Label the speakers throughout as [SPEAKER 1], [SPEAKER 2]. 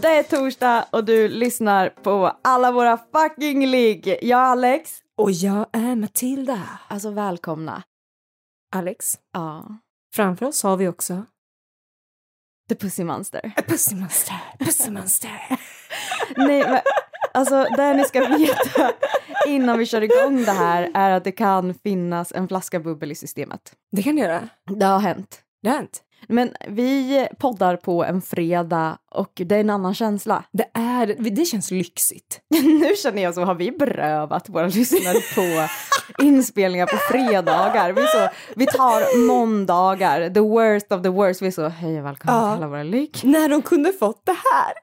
[SPEAKER 1] Det är torsdag och du lyssnar på alla våra fucking ligg. Jag är Alex.
[SPEAKER 2] Och jag är Matilda.
[SPEAKER 1] Alltså välkomna.
[SPEAKER 2] Alex,
[SPEAKER 1] Ja.
[SPEAKER 2] framför oss har vi också
[SPEAKER 1] The Pussy Monster.
[SPEAKER 2] Pussymonster, Pussymonster.
[SPEAKER 1] Nej men alltså det ni ska veta innan vi kör igång det här är att det kan finnas en flaska bubbel i systemet.
[SPEAKER 2] Det kan du göra.
[SPEAKER 1] Det har hänt.
[SPEAKER 2] Det har hänt.
[SPEAKER 1] Men vi poddar på en fredag och det är en annan känsla.
[SPEAKER 2] Det, är, det känns lyxigt.
[SPEAKER 1] Nu känner jag så, har vi berövat våra lyssnare på inspelningar på fredagar? Vi, är så, vi tar måndagar, the worst of the worst. Vi är så, hej och välkomna
[SPEAKER 2] Ja.
[SPEAKER 1] till alla våra lyck.
[SPEAKER 2] När de kunde fått det här.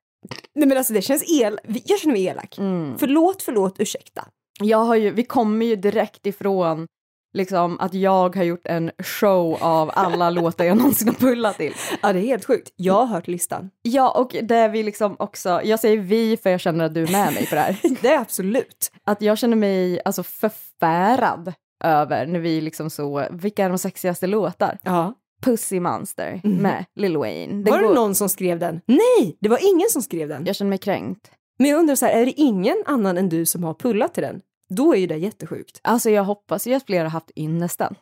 [SPEAKER 2] Nej men alltså det känns el... Jag känner mig elak.
[SPEAKER 1] Mm.
[SPEAKER 2] Förlåt, förlåt, ursäkta.
[SPEAKER 1] Jag har ju, vi kommer ju direkt ifrån liksom, att jag har gjort en show av alla låtar jag någonsin har pullat till.
[SPEAKER 2] Ja, det är helt sjukt. Jag har hört listan.
[SPEAKER 1] Ja, och det vi liksom också, jag säger vi för jag känner att du är med mig på det här.
[SPEAKER 2] Det är absolut.
[SPEAKER 1] att jag känner mig alltså förfärad över när vi liksom så, vilka är de sexigaste låtar?
[SPEAKER 2] Ja.
[SPEAKER 1] Pussy Monster
[SPEAKER 2] Mm.
[SPEAKER 1] med Lil Wayne.
[SPEAKER 2] var det
[SPEAKER 1] går-
[SPEAKER 2] någon som skrev den? Nej, det var ingen som skrev den.
[SPEAKER 1] Jag känner mig kränkt.
[SPEAKER 2] Men jag undrar så här, är det ingen annan än du som har pullat till den? Då är ju det jättesjukt.
[SPEAKER 1] Alltså jag hoppas ju att fler har haft ynnesten.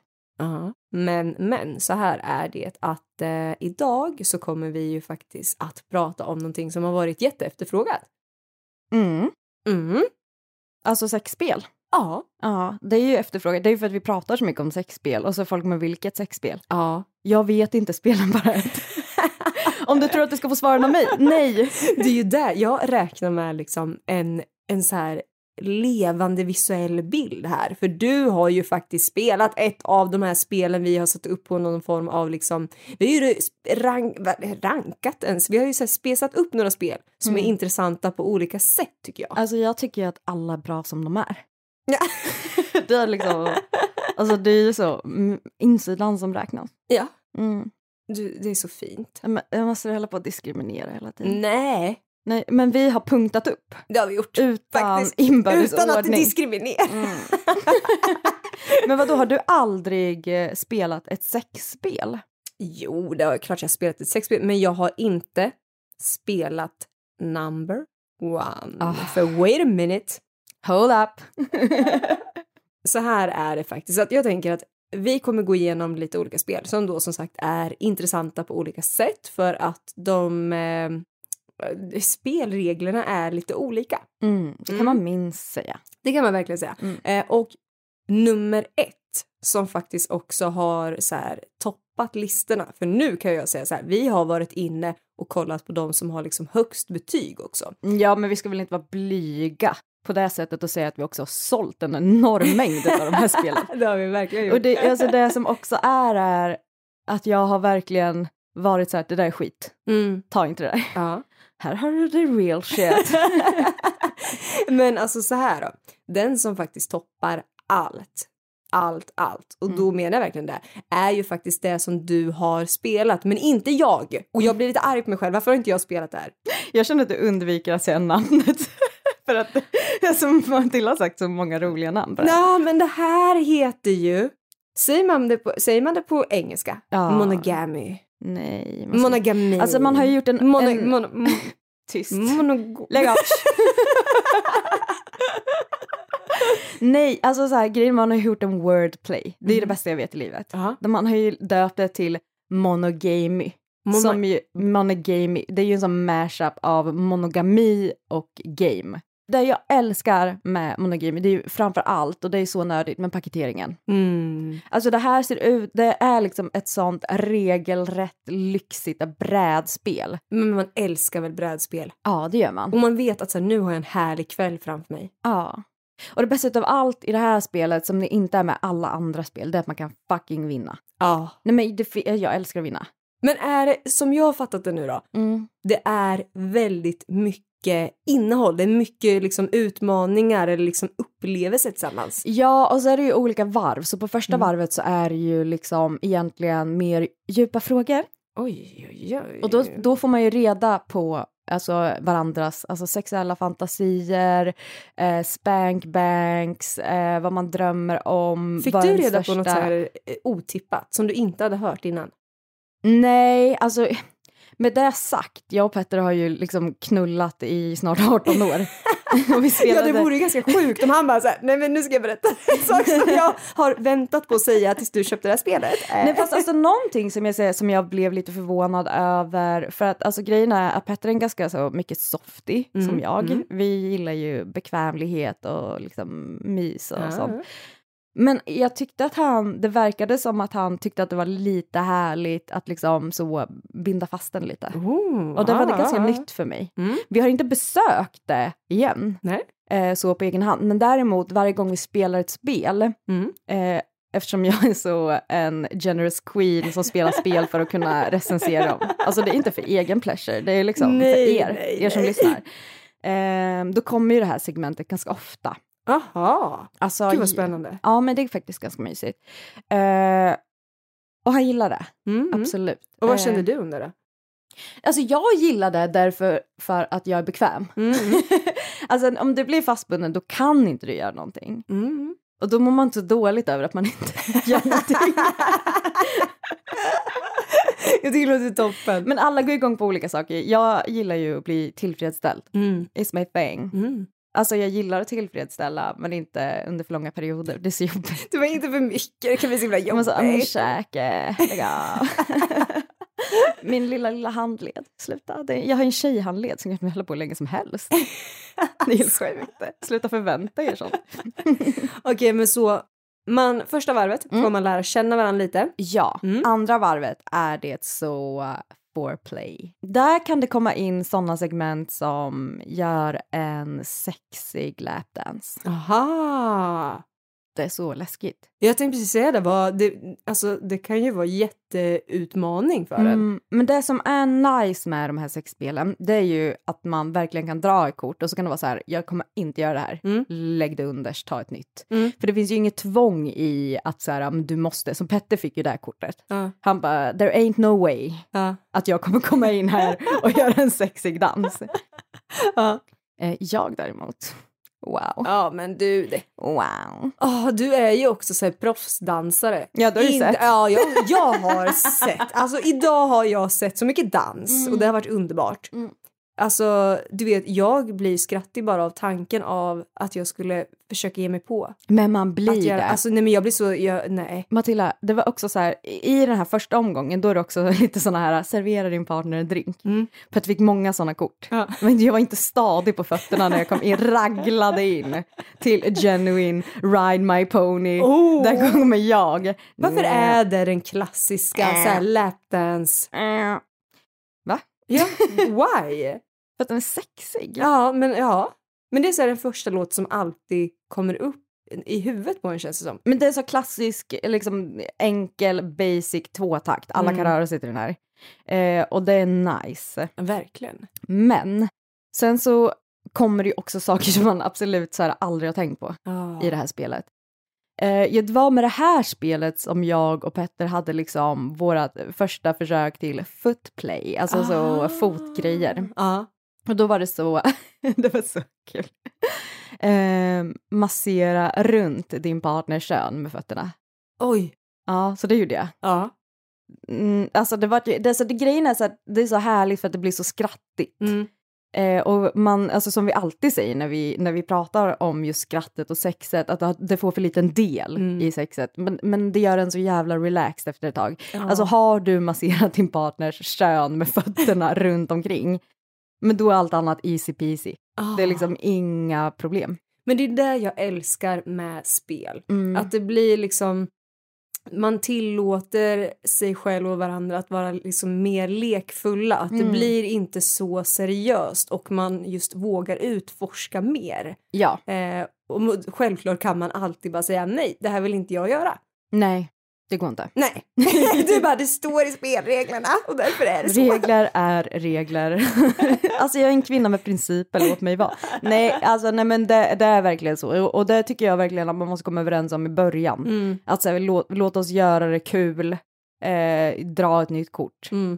[SPEAKER 2] Men, men så här är det att eh, idag så kommer vi ju faktiskt att prata om någonting som har varit jätteefterfrågat.
[SPEAKER 1] Mm.
[SPEAKER 2] Mm.
[SPEAKER 1] Alltså sexspel.
[SPEAKER 2] Ja.
[SPEAKER 1] Ja, det är ju efterfrågan. Det är ju för att vi pratar så mycket om sexspel och så folk med vilket sexspel.
[SPEAKER 2] Ja.
[SPEAKER 1] Jag vet inte spelen bara ett. om du tror att du ska få svaren av mig? Nej.
[SPEAKER 2] Det är ju där jag räknar med liksom en, en så här levande visuell bild här. För du har ju faktiskt spelat ett av de här spelen vi har satt upp på någon form av liksom, vi har ju sp- rank, va- rankat ens, vi har ju så här spesat upp några spel som
[SPEAKER 1] Mm.
[SPEAKER 2] är intressanta på olika sätt tycker jag.
[SPEAKER 1] Alltså jag tycker ju att alla är bra som de är.
[SPEAKER 2] Ja.
[SPEAKER 1] det är liksom, alltså det är ju så, mm, insidan som räknas.
[SPEAKER 2] Ja.
[SPEAKER 1] Mm.
[SPEAKER 2] Du, det är så fint.
[SPEAKER 1] Men Jag måste hålla på att diskriminera hela tiden.
[SPEAKER 2] Nej,
[SPEAKER 1] Nej, men vi har punktat upp.
[SPEAKER 2] Det har vi gjort.
[SPEAKER 1] Utan
[SPEAKER 2] Faktiskt.
[SPEAKER 1] inbördes
[SPEAKER 2] Utan att
[SPEAKER 1] ordning.
[SPEAKER 2] diskriminera.
[SPEAKER 1] Mm. Men vad då har du aldrig eh, spelat ett sexspel?
[SPEAKER 2] Jo, det är klart jag har spelat ett sexspel, men jag har inte spelat number one.
[SPEAKER 1] Ah.
[SPEAKER 2] För wait a minute,
[SPEAKER 1] Hold up!
[SPEAKER 2] så här är det faktiskt. Att jag tänker att vi kommer gå igenom lite olika spel som då som sagt är intressanta på olika sätt för att de eh, spelreglerna är lite olika.
[SPEAKER 1] Mm, det kan
[SPEAKER 2] Mm.
[SPEAKER 1] man minst säga.
[SPEAKER 2] Det kan man verkligen säga.
[SPEAKER 1] Mm.
[SPEAKER 2] Eh, och nummer ett som faktiskt också har så här, toppat listorna, för nu kan jag säga så här, vi har varit inne och kollat på de som har liksom högst betyg också.
[SPEAKER 1] Ja, men vi ska väl inte vara blyga på det sättet och säga att vi också har sålt en enorm mängd av de här spelen.
[SPEAKER 2] Det har vi verkligen
[SPEAKER 1] Och det, alltså det som också är är att jag har verkligen varit så här, det där är skit,
[SPEAKER 2] Mm,
[SPEAKER 1] ta inte det där.
[SPEAKER 2] ja.
[SPEAKER 1] Här har du the real shit.
[SPEAKER 2] Men alltså så här då, den som faktiskt toppar allt, allt, allt, och då menar jag verkligen det, är ju faktiskt det som du har spelat, men inte jag. Och jag blir lite arg på mig själv, varför har inte jag spelat det här?
[SPEAKER 1] Jag känner att du undviker att säga namnet. För att som Matilda har sagt så många roliga namn. bara.
[SPEAKER 2] Ja, men det här heter ju... Säger man det på, säger man det på engelska?
[SPEAKER 1] Ja.
[SPEAKER 2] Monogamy.
[SPEAKER 1] Nej. Man ska...
[SPEAKER 2] Monogami.
[SPEAKER 1] Alltså man har ju gjort en...
[SPEAKER 2] Mono,
[SPEAKER 1] en...
[SPEAKER 2] mono, mo-
[SPEAKER 1] Tyst.
[SPEAKER 2] monogo-
[SPEAKER 1] Lägg av. Nej, alltså så här, grejen man har ju gjort en wordplay. Det är det
[SPEAKER 2] Mm.
[SPEAKER 1] bästa jag vet i livet.
[SPEAKER 2] Ja.
[SPEAKER 1] Man har ju döpt det till monogamy.
[SPEAKER 2] Mono-
[SPEAKER 1] Som ju, monogamy, det är ju en sån mashup av monogami och game. Det jag älskar med monogamy, det är ju framför allt, och det är ju så nördigt, men paketeringen.
[SPEAKER 2] Mm.
[SPEAKER 1] Alltså det här ser ut, det är liksom ett sånt regelrätt lyxigt brädspel.
[SPEAKER 2] Men man älskar väl brädspel?
[SPEAKER 1] Ja, det gör man.
[SPEAKER 2] Och man vet att så här, nu har jag en härlig kväll framför mig.
[SPEAKER 1] Ja. Och det bästa av allt i det här spelet som det inte är med alla andra spel, det är att man kan fucking vinna.
[SPEAKER 2] Ja.
[SPEAKER 1] Nej men det, fi- jag älskar att vinna.
[SPEAKER 2] Men är det, som jag har fattat det nu då, det är väldigt mycket innehåll, det är mycket liksom utmaningar eller liksom upplevelser tillsammans.
[SPEAKER 1] Ja, och så är det ju olika varv. Så på första
[SPEAKER 2] Mm.
[SPEAKER 1] varvet så är det ju liksom egentligen mer djupa frågor.
[SPEAKER 2] Oj, oj, oj.
[SPEAKER 1] Och då, då får man ju reda på alltså, varandras alltså, sexuella fantasier, eh, spankbanks, eh, vad man drömmer om.
[SPEAKER 2] Fick
[SPEAKER 1] vad
[SPEAKER 2] du
[SPEAKER 1] ens
[SPEAKER 2] reda på något så
[SPEAKER 1] värsta-
[SPEAKER 2] här eh, otippat som du inte hade hört innan?
[SPEAKER 1] Nej, alltså med det sagt, jag och Petter har ju liksom knullat i snart 18 år. och vi
[SPEAKER 2] Ja,
[SPEAKER 1] spelade...
[SPEAKER 2] det vore ju ganska sjukt om han bara så här, nej men nu ska jag berätta en sak som jag har väntat på att säga tills du köpte det här spelet. Eh,
[SPEAKER 1] Nej fast alltså någonting som jag, säger, som jag blev lite förvånad över, för att alltså grejen är att Petter är en ganska så mycket softy som jag. Vi gillar ju bekvämlighet och liksom mys och sånt. Men jag tyckte att han, det verkade som att han tyckte att det var lite härligt att liksom så binda fast den lite.
[SPEAKER 2] oh,
[SPEAKER 1] Och det var det
[SPEAKER 2] ah,
[SPEAKER 1] ganska
[SPEAKER 2] ah.
[SPEAKER 1] nytt för mig.
[SPEAKER 2] Mm.
[SPEAKER 1] Vi har inte besökt det igen
[SPEAKER 2] Nej.
[SPEAKER 1] eh, så på egen hand. Men däremot varje gång vi spelar ett spel,
[SPEAKER 2] Mm.
[SPEAKER 1] eh, eftersom jag är så en generous queen som spelar spel för att kunna recensera dem. Alltså det är inte för egen pleasure, det är liksom
[SPEAKER 2] Nej,
[SPEAKER 1] för er,
[SPEAKER 2] nej,
[SPEAKER 1] er som
[SPEAKER 2] nej.
[SPEAKER 1] lyssnar. Eh, då kommer ju det här segmentet ganska ofta.
[SPEAKER 2] Aha.
[SPEAKER 1] Alltså,
[SPEAKER 2] Gud vad spännande.
[SPEAKER 1] Ja, men det är faktiskt ganska mysigt. Eh, och han gillar det,
[SPEAKER 2] Mm, mm.
[SPEAKER 1] absolut.
[SPEAKER 2] Och vad
[SPEAKER 1] Eh,
[SPEAKER 2] kände du under det?
[SPEAKER 1] Alltså jag gillar det därför för att jag är bekväm.
[SPEAKER 2] Mm.
[SPEAKER 1] alltså om du blir fastbunden då kan inte du göra någonting.
[SPEAKER 2] Mm.
[SPEAKER 1] Och då mår man inte så dåligt över att man inte gör någonting.
[SPEAKER 2] Jag tycker det låter toppen.
[SPEAKER 1] Men alla går igång på olika saker. Jag gillar ju att bli tillfredsställd.
[SPEAKER 2] Mm.
[SPEAKER 1] It's my thing.
[SPEAKER 2] Mm.
[SPEAKER 1] Alltså jag gillar att tillfredsställa men inte under för långa perioder. Det är så jobbigt.
[SPEAKER 2] Det var inte för mycket, det kan bli så himla
[SPEAKER 1] Jag måste
[SPEAKER 2] jobbigt.
[SPEAKER 1] ankäke. Min lilla, lilla handled. Sluta. Det- Jag har en tjejhandled som jag kan hålla på hur länge som helst. Det är helt sjukt. Sluta förvänta er sånt.
[SPEAKER 2] Okej, men så man, första varvet får man lära känna varandra lite.
[SPEAKER 1] Ja, andra varvet är det så eh, foreplay. Där kan det komma in sådana segment som gör en sexig lapdance.
[SPEAKER 2] Aha.
[SPEAKER 1] Det är så läskigt.
[SPEAKER 2] Jag tänkte precis säga det, vad, det, alltså, det kan ju vara jätteutmaning för en.
[SPEAKER 1] Mm, men det som är nice med de här sexspelen det är ju att man verkligen kan dra ett kort och så kan det vara så här, jag kommer inte göra det här.
[SPEAKER 2] Mm.
[SPEAKER 1] Lägg det underst, ta ett nytt.
[SPEAKER 2] Mm.
[SPEAKER 1] För det finns ju inget tvång i att så här, men du måste, som Petter fick ju det här kortet.
[SPEAKER 2] Ja,
[SPEAKER 1] Han bara, there ain't no way
[SPEAKER 2] ja.
[SPEAKER 1] att jag kommer komma in här och göra en sexig dans.
[SPEAKER 2] Ja.
[SPEAKER 1] Eh, Jag däremot, wow.
[SPEAKER 2] ja, men du, det,
[SPEAKER 1] Wow.
[SPEAKER 2] Ah, du är ju också så här proffsdansare.
[SPEAKER 1] Ja, det har du
[SPEAKER 2] Inte-
[SPEAKER 1] sett.
[SPEAKER 2] Ja, jag, jag har sett. Alltså idag har jag sett så mycket dans och det har varit underbart.
[SPEAKER 1] Mm.
[SPEAKER 2] Alltså, du vet, jag blir skrattig bara av tanken av att jag skulle försöka ge mig på.
[SPEAKER 1] Men man
[SPEAKER 2] Att
[SPEAKER 1] blir
[SPEAKER 2] göra,
[SPEAKER 1] det.
[SPEAKER 2] alltså, nej men jag blir så, jag, nej.
[SPEAKER 1] Matilda, det var också så här, i i den här första omgången då är det också lite såna här, servera din partner en drink.
[SPEAKER 2] Mm.
[SPEAKER 1] För att vi fick många såna kort.
[SPEAKER 2] Ja.
[SPEAKER 1] Men jag var inte stadig på fötterna när jag kom in, raglade in till Genuine Ride My Pony.
[SPEAKER 2] Oh.
[SPEAKER 1] Där kommer jag.
[SPEAKER 2] Varför är det den klassiska så här lapdance?
[SPEAKER 1] Äh.
[SPEAKER 2] Ja,
[SPEAKER 1] Mm.
[SPEAKER 2] why?
[SPEAKER 1] För att den är sexig.
[SPEAKER 2] Ja, men ja. Men det är så här den första låt som alltid kommer upp i huvudet på en känns det som.
[SPEAKER 1] Men det är så klassisk, liksom enkel, basic tvåtakt. Alla
[SPEAKER 2] Mm.
[SPEAKER 1] kan röra sig till den här. Eh, och det är nice.
[SPEAKER 2] Verkligen.
[SPEAKER 1] Men sen så kommer det ju också saker som man absolut så här aldrig har tänkt på
[SPEAKER 2] Ja.
[SPEAKER 1] i det här spelet. Eh, det var med det här spelet som jag och Petter hade liksom vårat första försök till footplay, alltså så
[SPEAKER 2] Ah.
[SPEAKER 1] fotgrejer.
[SPEAKER 2] Ja.
[SPEAKER 1] Och då var det så, det var så kul. Eh, massera runt din partners kön med fötterna.
[SPEAKER 2] Oj.
[SPEAKER 1] Ja, så det gjorde jag.
[SPEAKER 2] Ja.
[SPEAKER 1] Mm, alltså det var, det, så det, grejen är så att det är så härligt för att det blir så skrattigt.
[SPEAKER 2] Mm.
[SPEAKER 1] Eh, och man, alltså som vi alltid säger när vi, när vi pratar om just skrattet och sexet, att det får för liten del
[SPEAKER 2] Mm.
[SPEAKER 1] i sexet. Men, men det gör en så jävla relaxed efter ett tag.
[SPEAKER 2] Ja.
[SPEAKER 1] Alltså har du masserat din partners kön med fötterna runt omkring, men då är allt annat easy peasy.
[SPEAKER 2] Ah.
[SPEAKER 1] Det är liksom inga problem.
[SPEAKER 2] Men det är det jag älskar med spel.
[SPEAKER 1] Mm.
[SPEAKER 2] Att det blir liksom... Man tillåter sig själv och varandra att vara liksom mer lekfulla. Att det
[SPEAKER 1] Mm.
[SPEAKER 2] blir inte så seriöst och man just vågar utforska mer.
[SPEAKER 1] Ja,
[SPEAKER 2] Eh, och mo- självklart kan man alltid bara säga nej, det här vill inte jag göra.
[SPEAKER 1] nej. Det går inte.
[SPEAKER 2] Nej, du bara det står i spelreglerna och därför är det så.
[SPEAKER 1] Regler är regler. alltså jag är en kvinna med principer, låt mig vara. Nej, alltså, nej men det, det är verkligen så. Och, och det tycker jag verkligen att man måste komma överens om i början. Att så här, låt, låt oss göra det kul, eh, dra ett nytt kort.
[SPEAKER 2] Mm.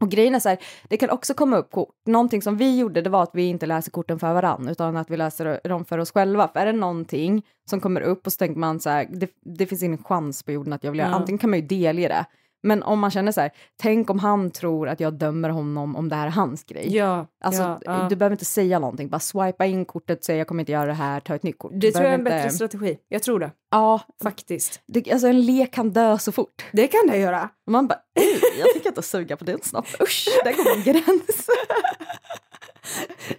[SPEAKER 1] Och grejen är så här, det kan också komma upp kort. Någonting som vi gjorde det var att vi inte läser korten för varann utan att vi läser dem för oss själva. För är det någonting som kommer upp och så tänker man så här, det, det finns ingen chans på jorden att jag vill göra,
[SPEAKER 2] Ja.
[SPEAKER 1] antingen kan man ju delge det. Men om man känner så här, tänk om han tror att jag dömer honom om det här är hans grej.
[SPEAKER 2] Ja,
[SPEAKER 1] Alltså,
[SPEAKER 2] ja, ja.
[SPEAKER 1] du behöver inte säga någonting, bara swipa in kortet, säga jag kommer inte göra det här, ta ett nytt kort. Du
[SPEAKER 2] det tror jag är en
[SPEAKER 1] behöver
[SPEAKER 2] bättre
[SPEAKER 1] inte- Mm.
[SPEAKER 2] strategi. Jag tror det,
[SPEAKER 1] Ja,
[SPEAKER 2] faktiskt.
[SPEAKER 1] det, alltså en lek kan dö så fort.
[SPEAKER 2] Det kan det göra.
[SPEAKER 1] Och man bara, "Ej, jag tänker inte suga på den snabbt, usch, där går min gräns.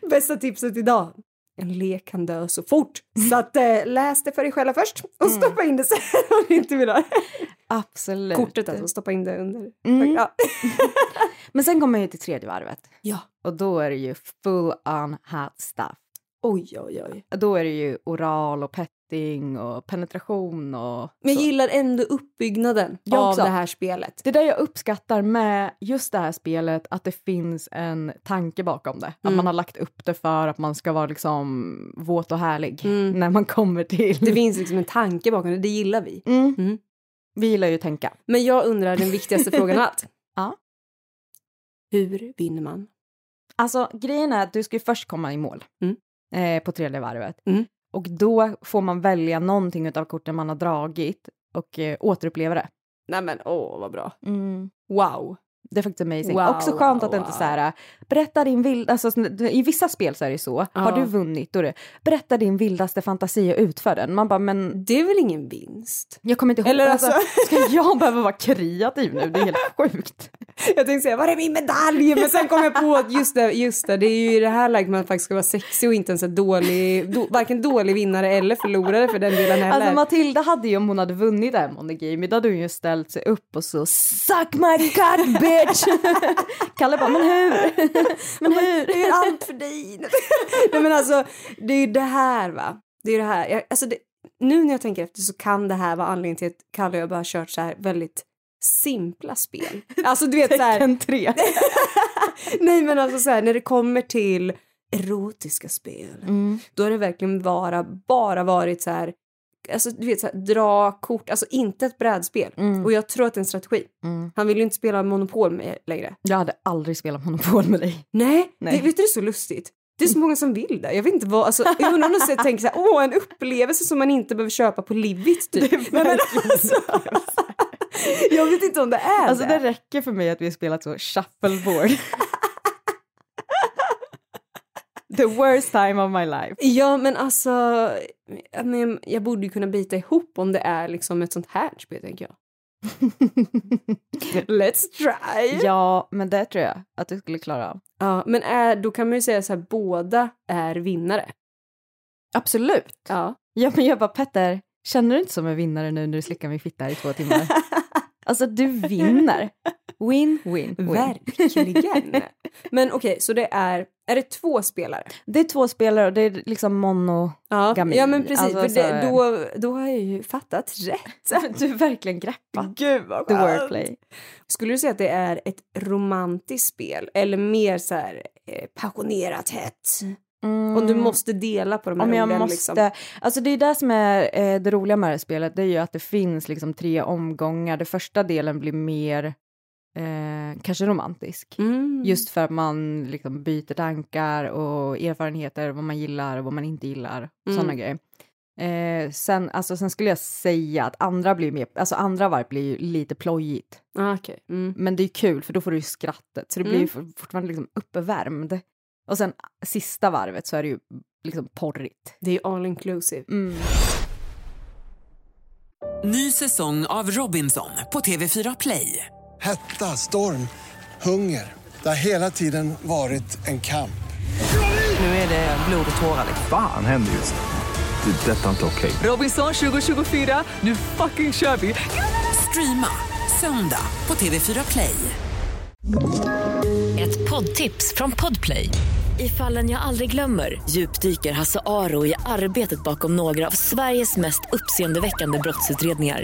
[SPEAKER 2] Bästa tipset idag. En lek kan dö så fort. Så att eh, läs det för dig själva först och
[SPEAKER 1] Mm.
[SPEAKER 2] stoppa in det sen om du inte vill ha det.
[SPEAKER 1] Absolut.
[SPEAKER 2] Kortet alltså, stoppa in det under.
[SPEAKER 1] Mm.
[SPEAKER 2] Ja.
[SPEAKER 1] Men sen kommer man ju till tredje varvet
[SPEAKER 2] ja.
[SPEAKER 1] och då är det ju full on hot stuff.
[SPEAKER 2] Oj, oj, oj.
[SPEAKER 1] Då är det ju oral och petting och penetration och
[SPEAKER 2] Men
[SPEAKER 1] så.
[SPEAKER 2] jag gillar ändå uppbyggnaden
[SPEAKER 1] Jag
[SPEAKER 2] av
[SPEAKER 1] också.
[SPEAKER 2] det här spelet.
[SPEAKER 1] Det är det jag uppskattar med just det här spelet, att det finns en tanke bakom det. Att
[SPEAKER 2] Mm.
[SPEAKER 1] man har lagt upp det för att man ska vara liksom våt och härlig
[SPEAKER 2] Mm.
[SPEAKER 1] när man kommer till...
[SPEAKER 2] Det finns liksom en tanke bakom det, det gillar vi.
[SPEAKER 1] Mm.
[SPEAKER 2] Mm.
[SPEAKER 1] Vi gillar ju att tänka.
[SPEAKER 2] Men jag undrar den viktigaste frågan av allt.
[SPEAKER 1] Ja.
[SPEAKER 2] Hur vinner man?
[SPEAKER 1] Alltså grejen är att du ska ju först komma i mål
[SPEAKER 2] Mm.
[SPEAKER 1] eh, på tredje varvet.
[SPEAKER 2] Mm.
[SPEAKER 1] Och då får man välja någonting av korten man har dragit och eh, återuppleva det.
[SPEAKER 2] Nej men åh, vad bra. Wow.
[SPEAKER 1] Det är faktiskt amazing.
[SPEAKER 2] Mm. Wow,
[SPEAKER 1] Också skönt
[SPEAKER 2] wow,
[SPEAKER 1] att det inte
[SPEAKER 2] wow.
[SPEAKER 1] så här, eh, berätta din vilda, alltså, sån- i vissa spel så är det ju så,
[SPEAKER 2] Ja.
[SPEAKER 1] har du vunnit då är det, berätta din vildaste fantasi och utför den. Man bara men
[SPEAKER 2] Det är väl ingen vinst?
[SPEAKER 1] jag kommer inte ihåg,
[SPEAKER 2] Eller alltså-
[SPEAKER 1] ska jag behöva vara kreativ nu? Det är helt sjukt.
[SPEAKER 2] Jag tänkte säga, var är min medalj? Men sen kom jag på att just det, just det, det är ju i det här läget man faktiskt ska vara sexig och inte ens en dålig, då, varken dålig vinnare eller förlorare för den delen heller.
[SPEAKER 1] Alltså Matilda hade ju om hon hade vunnit det här Money Game, då hade hon ju ställt sig upp och så suck my god bitch! Kalle bara men hur? men hur?
[SPEAKER 2] Jag gör allt för dig. Nej men alltså, det är ju det här va. Det är ju det här. Jag, alltså det, nu när jag tänker efter så kan det här vara anledningen till att Kalle och jag bara har kört så här väldigt simpla spel. Alltså du vet så här,
[SPEAKER 1] Tecken tre.
[SPEAKER 2] nej men alltså så här när det kommer till erotiska spel, då har det verkligen bara, bara varit så här, alltså du vet så här, dra kort, alltså inte ett brädspel. Och jag tror att det är en strategi. Han vill ju inte spela Monopol med längre.
[SPEAKER 1] Jag hade aldrig spelat Monopol med dig.
[SPEAKER 2] Nej,
[SPEAKER 1] Nej.
[SPEAKER 2] Det, vet du det är så lustigt. Det är så många som vill det. Jag vet inte vad, alltså, jag undrar om de säger- tänker så här, åh en upplevelse som man inte behöver köpa på Livit typ. Nej, men alltså, jag vet inte om det är
[SPEAKER 1] Alltså det
[SPEAKER 2] det.
[SPEAKER 1] räcker för mig att vi har spelat så shuffleboard. The worst time of my life.
[SPEAKER 2] Ja men alltså, jag, men, jag borde ju kunna bita ihop om det är liksom ett sånt här spel tänker jag. Let's try! Ja.
[SPEAKER 1] Ja, men det tror jag att du skulle klara av.
[SPEAKER 2] men är, då kan man ju säga så här, båda är vinnare.
[SPEAKER 1] Absolut.
[SPEAKER 2] Ja.
[SPEAKER 1] Ja, men jag bara Petter, känner du inte som en vinnare nu när du slickar min fitta här i två timmar? Alltså du vinner. Win, win, win.
[SPEAKER 2] Verkligen! men okej, så det är, är det två spelare?
[SPEAKER 1] Det är två spelare och det är liksom mono.
[SPEAKER 2] Ja,
[SPEAKER 1] Gamin.
[SPEAKER 2] ja men precis,
[SPEAKER 1] Alltså,
[SPEAKER 2] för
[SPEAKER 1] så
[SPEAKER 2] det,
[SPEAKER 1] här-
[SPEAKER 2] då, då har jag ju fattat rätt.
[SPEAKER 1] Du har verkligen greppat
[SPEAKER 2] Gud vad
[SPEAKER 1] the wordplay.
[SPEAKER 2] Skulle du säga att det är ett romantiskt spel eller mer så här eh, passionerat hett?
[SPEAKER 1] Mm.
[SPEAKER 2] Om du måste dela på de här
[SPEAKER 1] Om jag
[SPEAKER 2] orden
[SPEAKER 1] måste,
[SPEAKER 2] liksom.
[SPEAKER 1] alltså det är det som är eh, det roliga med det här spelet, det är ju att det finns liksom tre omgångar. Det första delen blir mer eh, kanske romantisk.
[SPEAKER 2] Mm.
[SPEAKER 1] Just för att man liksom byter tankar och erfarenheter, vad man gillar och vad man inte gillar,
[SPEAKER 2] Mm.
[SPEAKER 1] sådana grejer. Eh, sen, alltså, sen skulle jag säga att andra blir mer, alltså andra varv blir ju lite plojigt.
[SPEAKER 2] Ah, okej. mm.
[SPEAKER 1] Men det är kul för då får du ju skrattet, så det blir ju
[SPEAKER 2] Mm.
[SPEAKER 1] for- fortfarande liksom uppvärmd. Och sen ah, sista varvet så är det ju liksom porrigt.
[SPEAKER 2] Det är ju all inclusive.
[SPEAKER 1] Mm.
[SPEAKER 3] Ny säsong av Robinson på TV4 Play.
[SPEAKER 4] Hetta, storm, hunger. Det har hela tiden varit en kamp.
[SPEAKER 3] Nu är det blod och tårar. liksom.
[SPEAKER 5] Fan händer just det. Det är detta inte okej.
[SPEAKER 3] Robinson 2024, nu fucking kör vi! Streama söndag på TV4 Play.
[SPEAKER 6] Ett poddtips från Podplay. I fallen jag aldrig glömmer djupdyker Hasse Aro i arbetet bakom några av Sveriges mest uppseendeväckande brottsutredningar.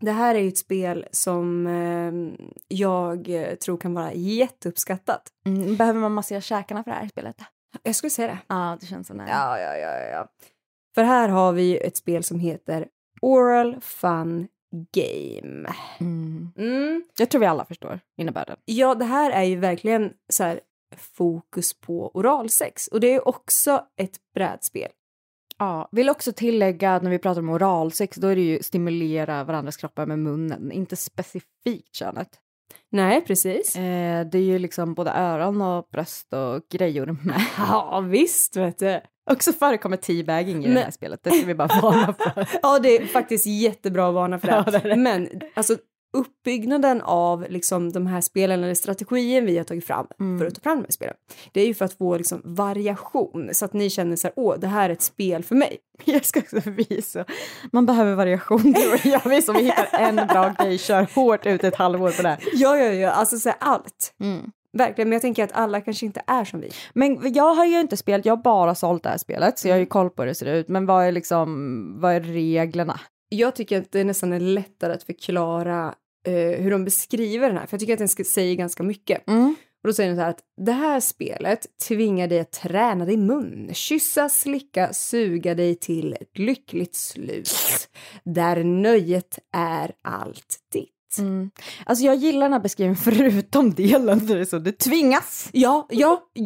[SPEAKER 2] Det här är ju ett spel som eh, jag eh, tror kan vara jätteuppskattat.
[SPEAKER 1] Mm, behöver man massera käkarna för det här spelet? Ja,
[SPEAKER 2] Jag skulle säga det.
[SPEAKER 1] det känns så nära.
[SPEAKER 2] Ja, ja, ja, ja, ja. För här har vi ju ett spel som heter Oral Fun Game.
[SPEAKER 1] Mm.
[SPEAKER 2] Mm.
[SPEAKER 1] Jag tror vi alla förstår innebörden.
[SPEAKER 2] Ja, det här är ju verkligen så här fokus på oralsex och det är ju också ett brädspel.
[SPEAKER 1] Ja, vill också tillägga att när vi pratar om oralsex då är det ju stimulera varandras kroppar med munnen, inte specifikt könet.
[SPEAKER 2] Nej, precis.
[SPEAKER 1] Eh, det är ju liksom både öron och bröst och grejor med.
[SPEAKER 2] Ja, visst vet du.
[SPEAKER 1] Också förekommer teabagging i det här
[SPEAKER 2] Nej.
[SPEAKER 1] spelet, det ska vi bara varna för.
[SPEAKER 2] Ja, det är faktiskt jättebra att varna för det.
[SPEAKER 1] Ja, det är det.
[SPEAKER 2] Men alltså uppbyggnaden av liksom de här spelen eller strategin vi har tagit fram
[SPEAKER 1] Mm.
[SPEAKER 2] för att ta fram de här spelen. Det är ju för att få liksom variation så att ni känner så här, åh, det här är ett spel för mig.
[SPEAKER 1] Jag ska också visa. Man behöver variation tror jag. Vi som hittar en bra grej kör hårt ut ett halvår på det här.
[SPEAKER 2] Ja, ja, ja, alltså så här, allt. Verkligen, men jag tänker att alla kanske inte är som vi.
[SPEAKER 1] Men jag har ju inte spelat, jag har bara sålt det här spelet så jag
[SPEAKER 2] Mm.
[SPEAKER 1] har ju koll på hur det ser ut. Men vad är liksom, vad är reglerna?
[SPEAKER 2] Jag tycker att det nästan är lättare att förklara eh, hur de beskriver den här, för jag tycker att den ska, säger ganska mycket.
[SPEAKER 1] Mm.
[SPEAKER 2] Och då säger den så här att det här spelet tvingar dig att träna din mun, kyssa, slicka, suga dig till ett lyckligt slut. Där nöjet är allt ditt.
[SPEAKER 1] Mm. Alltså jag gillar den här beskrivningen förutom delen där det så du tvingas.
[SPEAKER 2] Ja, ja, eh,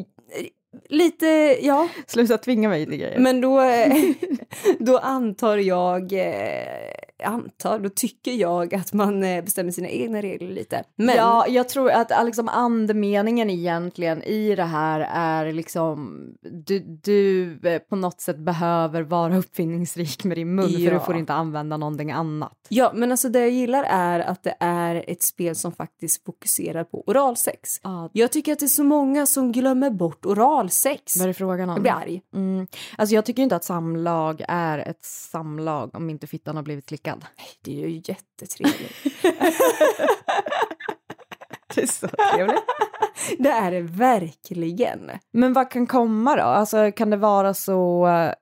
[SPEAKER 2] lite, ja.
[SPEAKER 1] Sluta tvinga mig till grejer.
[SPEAKER 2] Men då, eh, då antar jag, eh, antar, då tycker jag att man eh, bestämmer sina egna regler lite. Men
[SPEAKER 1] Ja, jag tror att eh, liksom andemeningen egentligen i det här är liksom du, du eh, på något sätt behöver vara uppfinningsrik med din mun för
[SPEAKER 2] Ja.
[SPEAKER 1] du får inte använda någonting annat.
[SPEAKER 2] Ja, men alltså det jag gillar är att det är ett spel som faktiskt fokuserar på oralsex.
[SPEAKER 1] Ja,
[SPEAKER 2] Jag tycker att det är så många som glömmer bort oralsex.
[SPEAKER 1] vad är det frågan om?
[SPEAKER 2] Jag blir arg.
[SPEAKER 1] Mm. Alltså jag tycker inte att samlag är ett samlag om inte fittan har blivit slickad.
[SPEAKER 2] Det är ju jättetrevligt.
[SPEAKER 1] Det är så trevligt.
[SPEAKER 2] det är det verkligen.
[SPEAKER 1] Men vad kan komma då? Alltså kan det vara så... eh,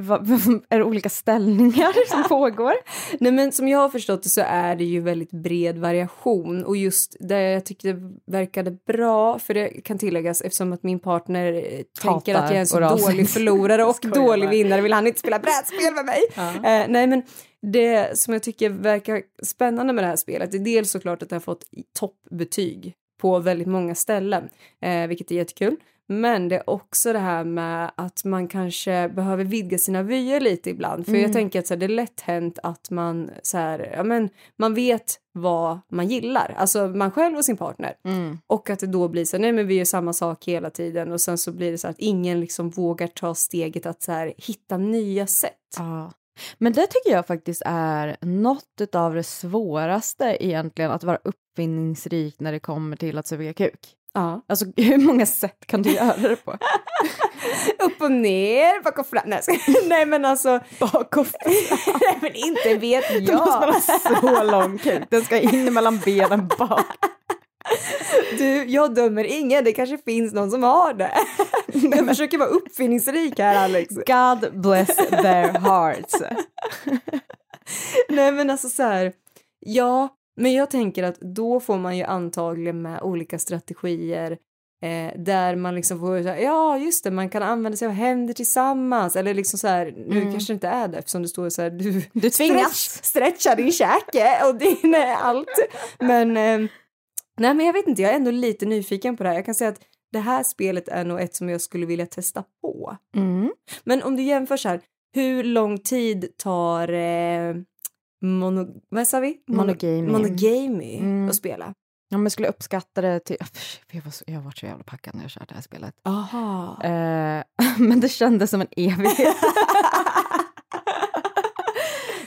[SPEAKER 1] vad- är det olika ställningar som pågår?
[SPEAKER 2] Nej, men som jag har förstått det så är det ju väldigt bred variation och just det jag tyckte verkade bra, för det kan tilläggas eftersom att min partner eh, tänker att jag är en så
[SPEAKER 1] oralsex.
[SPEAKER 2] dålig förlorare och
[SPEAKER 1] Skojar bara.
[SPEAKER 2] dålig vinnare vill han inte spela brädspel med mig. Eh, nej, men det som jag tycker verkar spännande med det här spelet är dels såklart att det har fått toppbetyg på väldigt många ställen, eh, vilket är jättekul. Men det är också det här med att man kanske behöver vidga sina vyer lite ibland. För jag tänker att så här, det är lätt hänt att man så här, ja men man vet vad man gillar, alltså man själv och sin partner.
[SPEAKER 1] Mm.
[SPEAKER 2] Och att det då blir så här, nej men vi gör samma sak hela tiden och sen så blir det så här att ingen liksom vågar ta steget att så här hitta nya sätt.
[SPEAKER 1] Ja. Men det tycker jag faktiskt är något av det svåraste egentligen, att vara uppfinningsrik när det kommer till att suga kuk.
[SPEAKER 2] Ja.
[SPEAKER 1] Alltså hur många sätt kan du göra det på?
[SPEAKER 2] Upp och ner, bak och fram. Nej, jag skojar. nej men alltså. Bak och fram. nej men inte vet
[SPEAKER 1] Då måste man
[SPEAKER 2] jag.
[SPEAKER 1] ha så lång kuk, den ska in mellan benen bak.
[SPEAKER 2] Du, jag dömer ingen, det kanske finns någon som har det. Jag försöker vara uppfinningsrik här Alex.
[SPEAKER 1] God bless their hearts.
[SPEAKER 2] Nej men alltså så här, ja, men jag tänker att då får man ju antagligen med olika strategier eh, där man liksom får, så här, ja just det, man kan använda sig av händer tillsammans eller liksom så här, nu kanske det inte är det eftersom det står så här, du
[SPEAKER 1] Du
[SPEAKER 2] stretch, stretcha din käke och din eh, allt. Men, eh, nej men jag vet inte, jag är ändå lite nyfiken på det här. Jag kan säga att det här spelet är nog ett som jag skulle vilja testa på.
[SPEAKER 1] Mm.
[SPEAKER 2] Men om du jämför så här, hur lång tid tar eh, mono, vad sa vi? Mono-
[SPEAKER 1] Monogaming.
[SPEAKER 2] monogamy
[SPEAKER 1] Mm.
[SPEAKER 2] att spela?
[SPEAKER 1] Ja, men skulle uppskatta det till... Pff, Jag, var så, jag har varit så jävla packad när jag körde det här spelet.
[SPEAKER 2] Aha.
[SPEAKER 1] Eh, men det kändes som en evighet.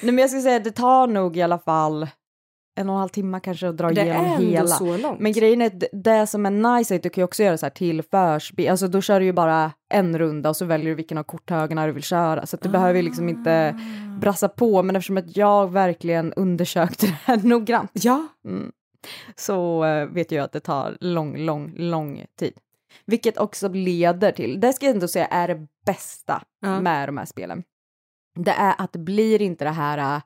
[SPEAKER 1] Nej men jag skulle säga det tar nog i alla fall en och en halv timme kanske att dra
[SPEAKER 2] Det
[SPEAKER 1] igenom
[SPEAKER 2] är ändå
[SPEAKER 1] hela.
[SPEAKER 2] så långt.
[SPEAKER 1] Men grejen är att det- det som är nice är att du kan ju också göra så här till förspel, alltså då kör du ju bara en runda och så väljer du vilken av korthögarna du vill köra så att du behöver ju liksom inte
[SPEAKER 2] Ah.
[SPEAKER 1] brassa på men eftersom att jag verkligen undersökte det här noggrant Mm.
[SPEAKER 2] Ja,
[SPEAKER 1] så eh, vet jag att det tar lång, lång, lång tid. Vilket också leder till, det ska jag ändå säga är det bästa
[SPEAKER 2] Ja.
[SPEAKER 1] med de här spelen. Det är att det blir inte det här, eh,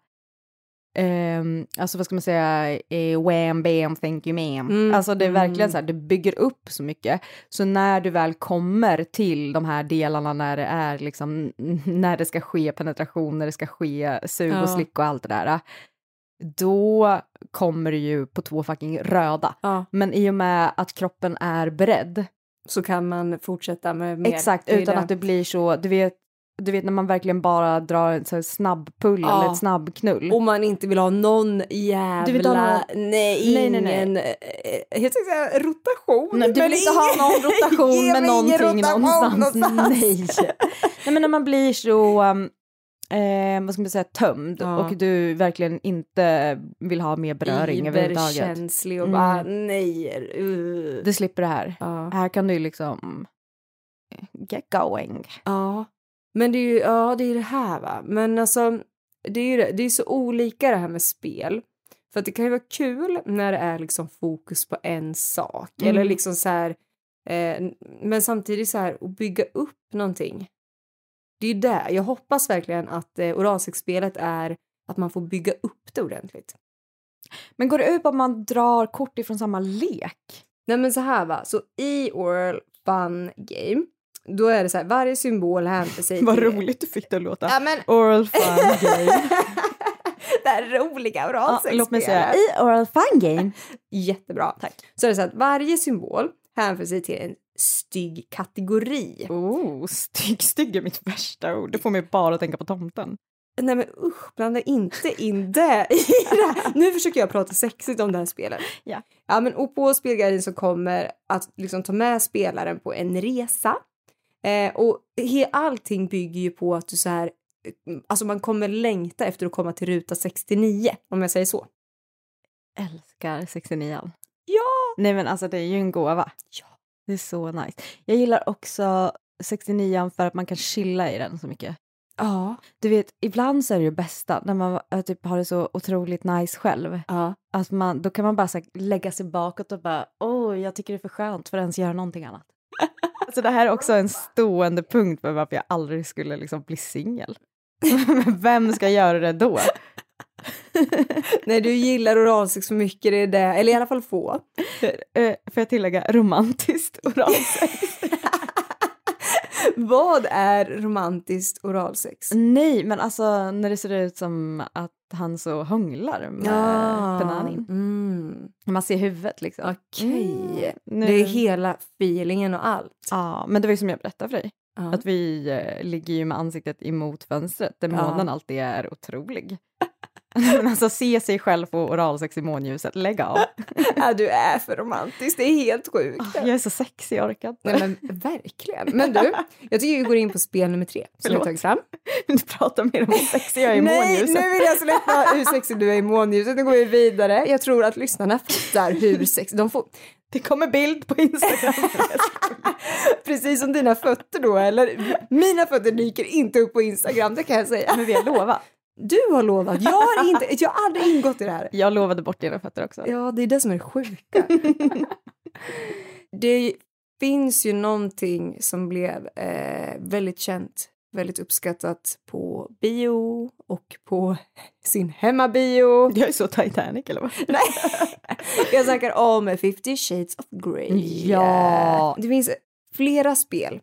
[SPEAKER 1] ehm, alltså vad ska man säga, eh, wham bam thank you ma'am.
[SPEAKER 2] Mm,
[SPEAKER 1] Alltså det är verkligen
[SPEAKER 2] mm.
[SPEAKER 1] så här, det bygger upp så mycket. Så när du väl kommer till de här delarna när det är liksom, när det ska ske penetration, när det ska ske sug
[SPEAKER 2] Ja.
[SPEAKER 1] och slick och allt det där då kommer det ju på två fucking röda.
[SPEAKER 2] ja.
[SPEAKER 1] Men i och med att kroppen är beredd,
[SPEAKER 2] så kan man fortsätta med mer.
[SPEAKER 1] exakt,
[SPEAKER 2] Det är
[SPEAKER 1] utan
[SPEAKER 2] det.
[SPEAKER 1] att det blir så, du vet, du vet när man verkligen bara drar en så här snabb pull
[SPEAKER 2] Ja.
[SPEAKER 1] eller ett snabb knull.
[SPEAKER 2] Om man inte vill ha någon jävla...
[SPEAKER 1] Mm. Du vill inte ha
[SPEAKER 2] Nej,
[SPEAKER 1] Nej, nej,
[SPEAKER 2] ingen...
[SPEAKER 1] nej.
[SPEAKER 2] eh, Jag tänkte säga rotation.
[SPEAKER 1] Nej, du
[SPEAKER 2] men
[SPEAKER 1] vill inte ha
[SPEAKER 2] ingen-
[SPEAKER 1] någon rotation
[SPEAKER 2] Ge
[SPEAKER 1] med
[SPEAKER 2] mig ingen
[SPEAKER 1] någonting
[SPEAKER 2] rotation
[SPEAKER 1] någonstans.
[SPEAKER 2] någonstans.
[SPEAKER 1] Nej. Nej men när man blir så, um, eh, vad ska man säga, tömd
[SPEAKER 2] Ja.
[SPEAKER 1] och du verkligen inte vill ha mer beröring överhuvudtaget. Mm.
[SPEAKER 2] Iberkänslig och bara nej. Uh.
[SPEAKER 1] Du slipper det här.
[SPEAKER 2] Ja.
[SPEAKER 1] Här kan du ju liksom get going.
[SPEAKER 2] ja. Men det är ju ja, det, är det här va. Men alltså det är ju det. Det är så olika det här med spel. För att det kan ju vara kul när det är liksom fokus på en sak. Eller liksom så här. Eh, men samtidigt så här att bygga upp någonting. Det är ju det. Jag hoppas verkligen att eh, oralsexspelet är att man får bygga upp det ordentligt.
[SPEAKER 1] Men går det ut på att man drar kort ifrån samma lek?
[SPEAKER 2] Nej men så här va, så i Oral Fun Game då är det så här, varje symbol hänför sig till-
[SPEAKER 1] du fick det att låta.
[SPEAKER 2] Ja men
[SPEAKER 1] Oral fun game.
[SPEAKER 2] det här roliga
[SPEAKER 1] ja,
[SPEAKER 2] oralsexspelet.
[SPEAKER 1] låt mig säga, i oral fun game.
[SPEAKER 2] Jättebra. Tack. Så är det så att varje symbol hänför sig till en stygg kategori.
[SPEAKER 1] Oh, stygg, stygg är mitt värsta ord. Det får mig bara att tänka på tomten.
[SPEAKER 2] Nej men usch, blanda inte in det i det här. Nu försöker jag prata sexigt om det här spelet.
[SPEAKER 1] Ja.
[SPEAKER 2] Ja men och på spelguiden så kommer att liksom ta med spelaren på en resa. Eh, och he, allting bygger ju på att du så här, eh, alltså man kommer längta efter att komma till ruta 69 om jag säger så.
[SPEAKER 1] Älskar 69
[SPEAKER 2] Ja!
[SPEAKER 1] Nej men alltså det är ju en gåva.
[SPEAKER 2] Ja.
[SPEAKER 1] Det är så nice. Jag gillar också 69 för att man kan chilla i den så mycket.
[SPEAKER 2] Ja.
[SPEAKER 1] Du vet, ibland så är det ju bästa när man eh, typ har det så otroligt nice själv.
[SPEAKER 2] Ja.
[SPEAKER 1] Att man, då kan man bara så här, lägga sig bakåt och bara åh, jag tycker det är för skönt för att ens göra någonting annat. Så det här är också en stående punkt för varför jag aldrig skulle liksom bli singel. Men vem ska göra det då?
[SPEAKER 2] Nej du gillar oralsex för mycket, det är det. Eller i alla fall få.
[SPEAKER 1] Eh, Får jag tillägga romantiskt oralsex?
[SPEAKER 2] Vad är romantiskt oralsex?
[SPEAKER 1] Nej, men alltså när det ser ut som att han så hånglar med bananin.
[SPEAKER 2] Mm.
[SPEAKER 1] Man ser huvudet liksom.
[SPEAKER 2] Okej.
[SPEAKER 1] Mm, nu-
[SPEAKER 2] Det är hela feelingen och allt.
[SPEAKER 1] Ja, men det var ju som jag berättade för dig.
[SPEAKER 2] Ja.
[SPEAKER 1] Att vi eh, ligger ju med ansiktet emot fönstret där
[SPEAKER 2] Ja.
[SPEAKER 1] månen alltid är otrolig. Men alltså se sig själv få oralsex i månljuset, lägg av.
[SPEAKER 2] Ja, du är för romantisk, det är helt
[SPEAKER 1] Ah,
[SPEAKER 2] sjukt.
[SPEAKER 1] Jag är så sexig, jag orkar inte.
[SPEAKER 2] Nej men verkligen. Men du, jag tycker vi går in på spel nummer tre som vi
[SPEAKER 1] Förlåt.
[SPEAKER 2] har tagit fram.
[SPEAKER 1] Du pratar mer om hur sexig jag är i
[SPEAKER 2] Nej,
[SPEAKER 1] månljuset.
[SPEAKER 2] nu vill jag släppa hur sexig du är i månljuset. Nu går vi vidare. Jag tror att lyssnarna fattar hur sexig... De får...
[SPEAKER 1] Det kommer bild på Instagram.
[SPEAKER 2] Precis som dina fötter då, eller? Mina fötter dyker inte upp på Instagram, det kan jag säga.
[SPEAKER 1] Men vi har lovat.
[SPEAKER 2] Du har lovat, jag har, inte, jag har aldrig ingått i det här.
[SPEAKER 1] Jag lovade bort dina fötter också.
[SPEAKER 2] Ja, det är det som är det sjuka. det finns ju någonting som blev eh, väldigt känt, väldigt uppskattat på bio och på sin hemmabio.
[SPEAKER 1] Jag är så Titanic eller vad?
[SPEAKER 2] Nej, jag snackar om 50 shades of Grey.
[SPEAKER 1] Ja.
[SPEAKER 2] Det finns flera spel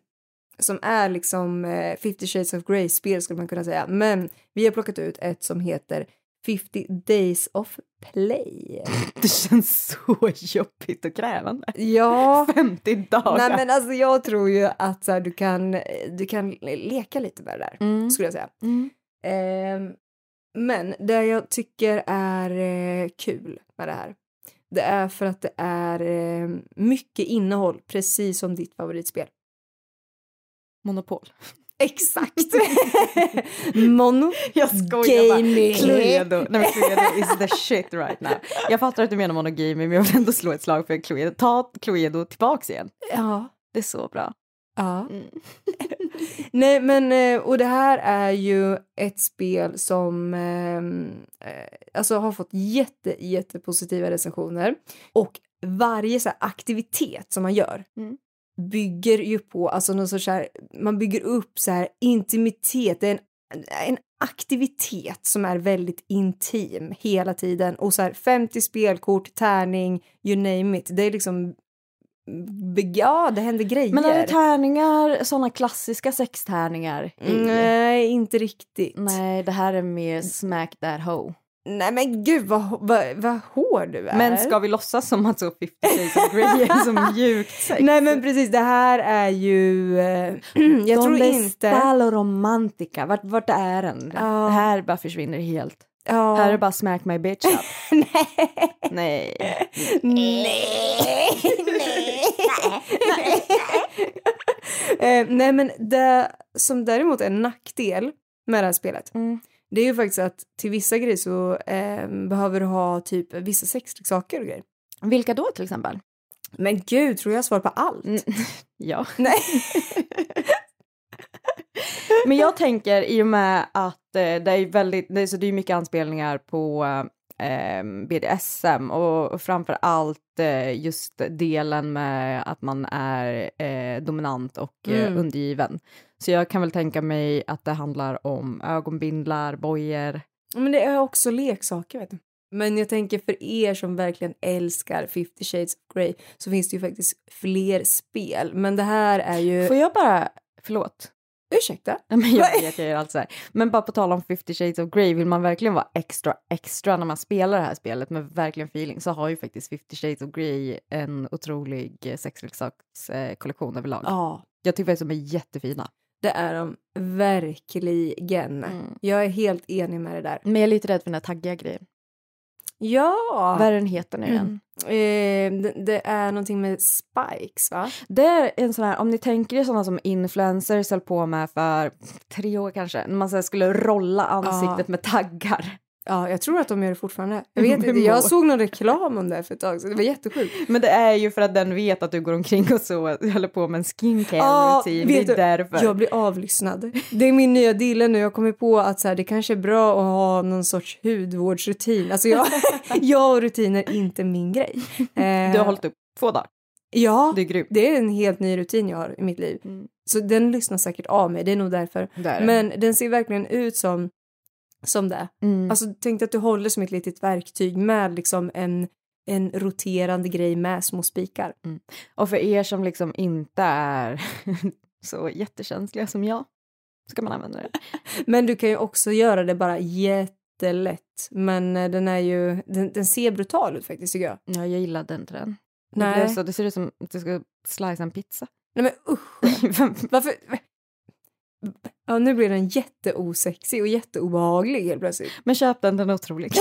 [SPEAKER 2] som är liksom eh, 50 shades of Grey-spel skulle man kunna säga. Men vi har plockat ut ett som heter 50 days of play.
[SPEAKER 1] Det känns så jobbigt och krävande.
[SPEAKER 2] Ja.
[SPEAKER 1] 50 dagar.
[SPEAKER 2] Nej men alltså jag tror ju att så här, du, kan, du kan leka lite med det där,
[SPEAKER 1] Mm.
[SPEAKER 2] skulle jag säga.
[SPEAKER 1] Mm.
[SPEAKER 2] Ehm, men det jag tycker är eh, kul med det här, det är för att det är eh, mycket innehåll, precis som ditt favoritspel.
[SPEAKER 1] Monopol.
[SPEAKER 2] Exakt. Mono.
[SPEAKER 1] Jag skojar
[SPEAKER 2] Gaming.
[SPEAKER 1] bara. Cluedo. Nej, men Cluedo is the shit right now. Jag fattar att du menar monogaming, men jag vill ändå slå ett slag för Cluedo. Ta Cluedo tillbaks igen.
[SPEAKER 2] Ja.
[SPEAKER 1] Det är så bra.
[SPEAKER 2] Ja.
[SPEAKER 1] Mm.
[SPEAKER 2] Nej, men eh, och det här är ju ett spel som ehm, eh, alltså har fått jätte, jättepositiva recensioner och varje så här aktivitet som man gör
[SPEAKER 1] Mm.
[SPEAKER 2] bygger ju på, alltså någon sorts så här, man bygger upp så här intimitet, det är en en aktivitet som är väldigt intim hela tiden och så här 50 spelkort, tärning, you name it. Det är liksom mm, be- ja, det händer grejer.
[SPEAKER 1] Men är det tärningar, sådana klassiska sextärningar? i?
[SPEAKER 2] Mm. Nej, inte riktigt.
[SPEAKER 1] Nej, det här är mer smack that hoe.
[SPEAKER 2] Nej, men gud vad, vad, vad hård du är.
[SPEAKER 1] Men ska vi låtsas som att så 50 Shades of Grey är som mjukt sex?
[SPEAKER 2] Nej, men precis. Det här är ju... eh, jag tror inte...
[SPEAKER 1] och romantika, vart, vart är den?
[SPEAKER 2] Ja.
[SPEAKER 1] Det här bara försvinner helt.
[SPEAKER 2] Ja.
[SPEAKER 1] Här är bara smack my bitch up.
[SPEAKER 2] Nej.
[SPEAKER 1] Nej.
[SPEAKER 2] Nej, nej, nej. eh, nej, men det som däremot är en nackdel med det här spelet
[SPEAKER 1] Mm.
[SPEAKER 2] det är ju faktiskt att till vissa grejer så eh, behöver du ha typ vissa sexleksaker och grejer.
[SPEAKER 1] Vilka då till exempel?
[SPEAKER 2] Men gud, tror jag svar på allt?
[SPEAKER 1] Mm. Ja.
[SPEAKER 2] Nej.
[SPEAKER 1] Men jag tänker i och med att eh, det är väldigt, det är, så det är mycket anspelningar på eh, BDSM och, och framför allt eh, just delen med att man är eh, dominant och
[SPEAKER 2] Mm.
[SPEAKER 1] eh, undergiven. Så jag kan väl tänka mig att det handlar om ögonbindlar, bojor.
[SPEAKER 2] Men det är också leksaker, vet du. Men jag tänker för er som verkligen älskar 50 shades of Grey så finns det ju faktiskt fler spel. Men det här är ju...
[SPEAKER 1] Får jag bara, förlåt,
[SPEAKER 2] Ursäkta?
[SPEAKER 1] Nej, men jag vet jag gör allt så här. Men bara på tal om 50 shades of Grey, vill man verkligen vara extra extra när man spelar det här spelet med verkligen feeling så har ju faktiskt 50 shades of Grey en otrolig eh, sexleksakskollektion överlag.
[SPEAKER 2] Ja,
[SPEAKER 1] Jag tycker faktiskt de är jättefina.
[SPEAKER 2] det är de verkligen.
[SPEAKER 1] Mm.
[SPEAKER 2] Jag är helt enig med det där.
[SPEAKER 1] Men jag är lite rädd för den här taggiga grejen.
[SPEAKER 2] Ja!
[SPEAKER 1] Vad är den heter nu igen?
[SPEAKER 2] Eh, det, det är någonting med spikes, va?
[SPEAKER 1] Det är en sån här, om ni tänker er sådana som influencers höll på med för tre år kanske, när man så här skulle rolla ansiktet med taggar.
[SPEAKER 2] Ja, jag tror att de gör det fortfarande. Jag vet
[SPEAKER 1] Med
[SPEAKER 2] inte, jag
[SPEAKER 1] mål.
[SPEAKER 2] såg någon reklam om det för ett tag sedan. Det var jättesjukt.
[SPEAKER 1] Men det är ju för att den vet att du går omkring och så håller på med en skincare
[SPEAKER 2] Ja,
[SPEAKER 1] routine.
[SPEAKER 2] vet
[SPEAKER 1] Det
[SPEAKER 2] du,
[SPEAKER 1] är därför.
[SPEAKER 2] Jag blir avlyssnad. Det är min nya dille nu. Jag kommer på att så här, det kanske är bra att ha någon sorts hudvårdsrutin. Alltså jag, jag och rutiner är inte min grej. Eh,
[SPEAKER 1] Du har hållit upp två dagar.
[SPEAKER 2] Ja,
[SPEAKER 1] Det är grymt.
[SPEAKER 2] det är en helt ny rutin jag har i mitt liv.
[SPEAKER 1] Mm.
[SPEAKER 2] Så den lyssnar säkert av mig. Det är nog därför.
[SPEAKER 1] Men,
[SPEAKER 2] Men den ser verkligen ut som, som det.
[SPEAKER 1] mm.
[SPEAKER 2] Alltså tänk dig att du håller som ett litet verktyg med liksom en, en roterande grej med små spikar.
[SPEAKER 1] Och för er som liksom inte är så jättekänsliga som jag så kan man använda det.
[SPEAKER 2] Men du kan ju också göra det bara jättelätt. Men eh, den är ju, den, den ser brutal ut faktiskt tycker jag.
[SPEAKER 1] Ja, jag gillade inte den. Det, blev
[SPEAKER 2] Nej,
[SPEAKER 1] så, det ser ut som att du ska slicea en pizza.
[SPEAKER 2] Nej men usch, varför? Ja, nu blir den jätteosexig och jätteobehaglig helt plötsligt.
[SPEAKER 1] Men köp den, den är otrolig.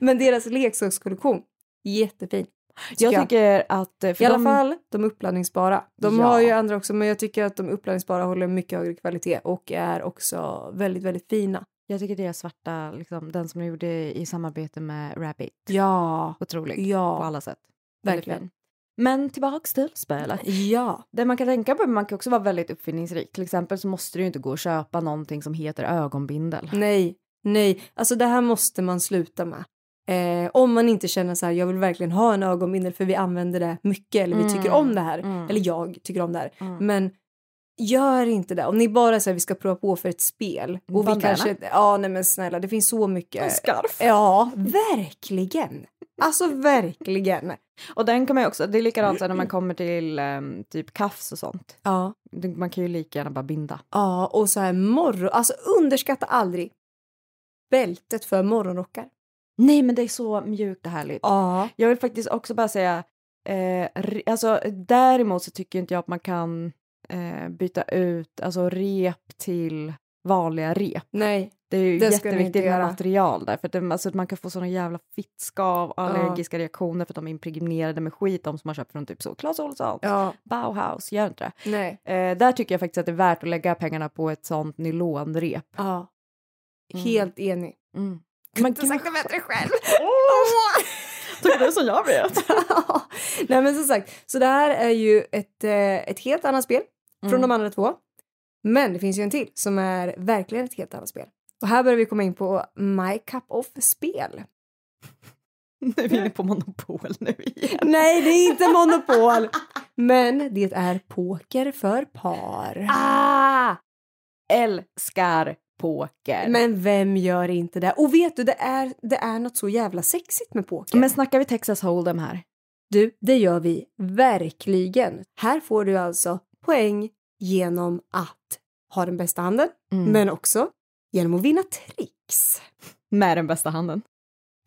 [SPEAKER 2] men deras leksakskollektion, jättefin. Tycker
[SPEAKER 1] Jag tycker att... eh, För
[SPEAKER 2] I alla
[SPEAKER 1] de-
[SPEAKER 2] fall de uppladdningsbara. De
[SPEAKER 1] Ja.
[SPEAKER 2] har ju andra också men jag tycker att de uppladdningsbara håller mycket högre kvalitet och är också väldigt, väldigt fina.
[SPEAKER 1] Jag tycker det är svarta, liksom, den som du gjorde i samarbete med Rabbit.
[SPEAKER 2] Ja,
[SPEAKER 1] Otrolig på
[SPEAKER 2] ja,
[SPEAKER 1] alla sätt. Väldigt
[SPEAKER 2] verkligen.
[SPEAKER 1] fin. Men tillbaks till spelet.
[SPEAKER 2] Ja.
[SPEAKER 1] Det man kan tänka på, men man kan också vara väldigt uppfinningsrik. Till exempel så måste du ju inte gå och köpa någonting som heter ögonbindel.
[SPEAKER 2] Nej, nej, alltså det här måste man sluta med. Eh, om man inte känner så här, jag vill verkligen ha en ögonbindel för vi använder det mycket eller vi
[SPEAKER 1] Mm,
[SPEAKER 2] tycker om det här.
[SPEAKER 1] mm.
[SPEAKER 2] Eller jag tycker om det här.
[SPEAKER 1] Mm.
[SPEAKER 2] Men gör inte det. Om ni bara säger vi ska prova på för ett spel. Och vi
[SPEAKER 1] Bandana.
[SPEAKER 2] kanske, ja nej men snälla det finns så mycket.
[SPEAKER 1] skarf.
[SPEAKER 2] Ja, verkligen. Alltså verkligen.
[SPEAKER 1] Och den kan man ju också, det är likadant så här när man kommer till ehm, typ kafs och sånt.
[SPEAKER 2] Ja,
[SPEAKER 1] Det- Man kan ju lika gärna bara binda.
[SPEAKER 2] ja och så här morgon, alltså underskatta aldrig bältet för morgonrockar.
[SPEAKER 1] Nej men det är så mjukt och härligt.
[SPEAKER 2] Ja.
[SPEAKER 1] Jag vill faktiskt också bara säga, eh, re- alltså däremot så tycker inte jag att man kan eh, byta ut alltså rep till vanliga rep.
[SPEAKER 2] Nej,
[SPEAKER 1] Det är ju
[SPEAKER 2] Det ska ni inte
[SPEAKER 1] jätteviktigt med
[SPEAKER 2] göra.
[SPEAKER 1] material där, för att det, alltså, man kan få såna jävla fittskav, allergiska reaktioner för att de är impregnerade med skit, de som man köper från typ så Clas Ohlson,
[SPEAKER 2] Ja,
[SPEAKER 1] Bauhaus, gör inte det.
[SPEAKER 2] nej.
[SPEAKER 1] Eh, där tycker jag faktiskt att det är värt att lägga pengarna på ett sånt nylonrep.
[SPEAKER 2] Ja. Helt enig.
[SPEAKER 1] Mm.
[SPEAKER 2] Kunde inte sagt det bättre själv.
[SPEAKER 1] Tycker du som jag vet?
[SPEAKER 2] Nej men som sagt, så det här är ju ett, eh, ett helt annat spel
[SPEAKER 1] Mm.
[SPEAKER 2] från de andra två. Men det finns ju en till som är verkligen ett helt annat spel. Och här börjar vi komma in på My Cup of-spel.
[SPEAKER 1] Nu är vi inne på monopol nu igen.
[SPEAKER 2] Nej, det är inte Monopol! men det är poker för par.
[SPEAKER 1] Ah! Älskar poker.
[SPEAKER 2] Men vem gör inte det? Och vet du, det är, det är något så jävla sexigt med poker.
[SPEAKER 1] Men snackar vi Texas Hold'em här?
[SPEAKER 2] Du, det gör vi verkligen. Här får du alltså poäng genom att ha den bästa handen,
[SPEAKER 1] Mm.
[SPEAKER 2] men också genom att vinna tricks.
[SPEAKER 1] Med den bästa handen.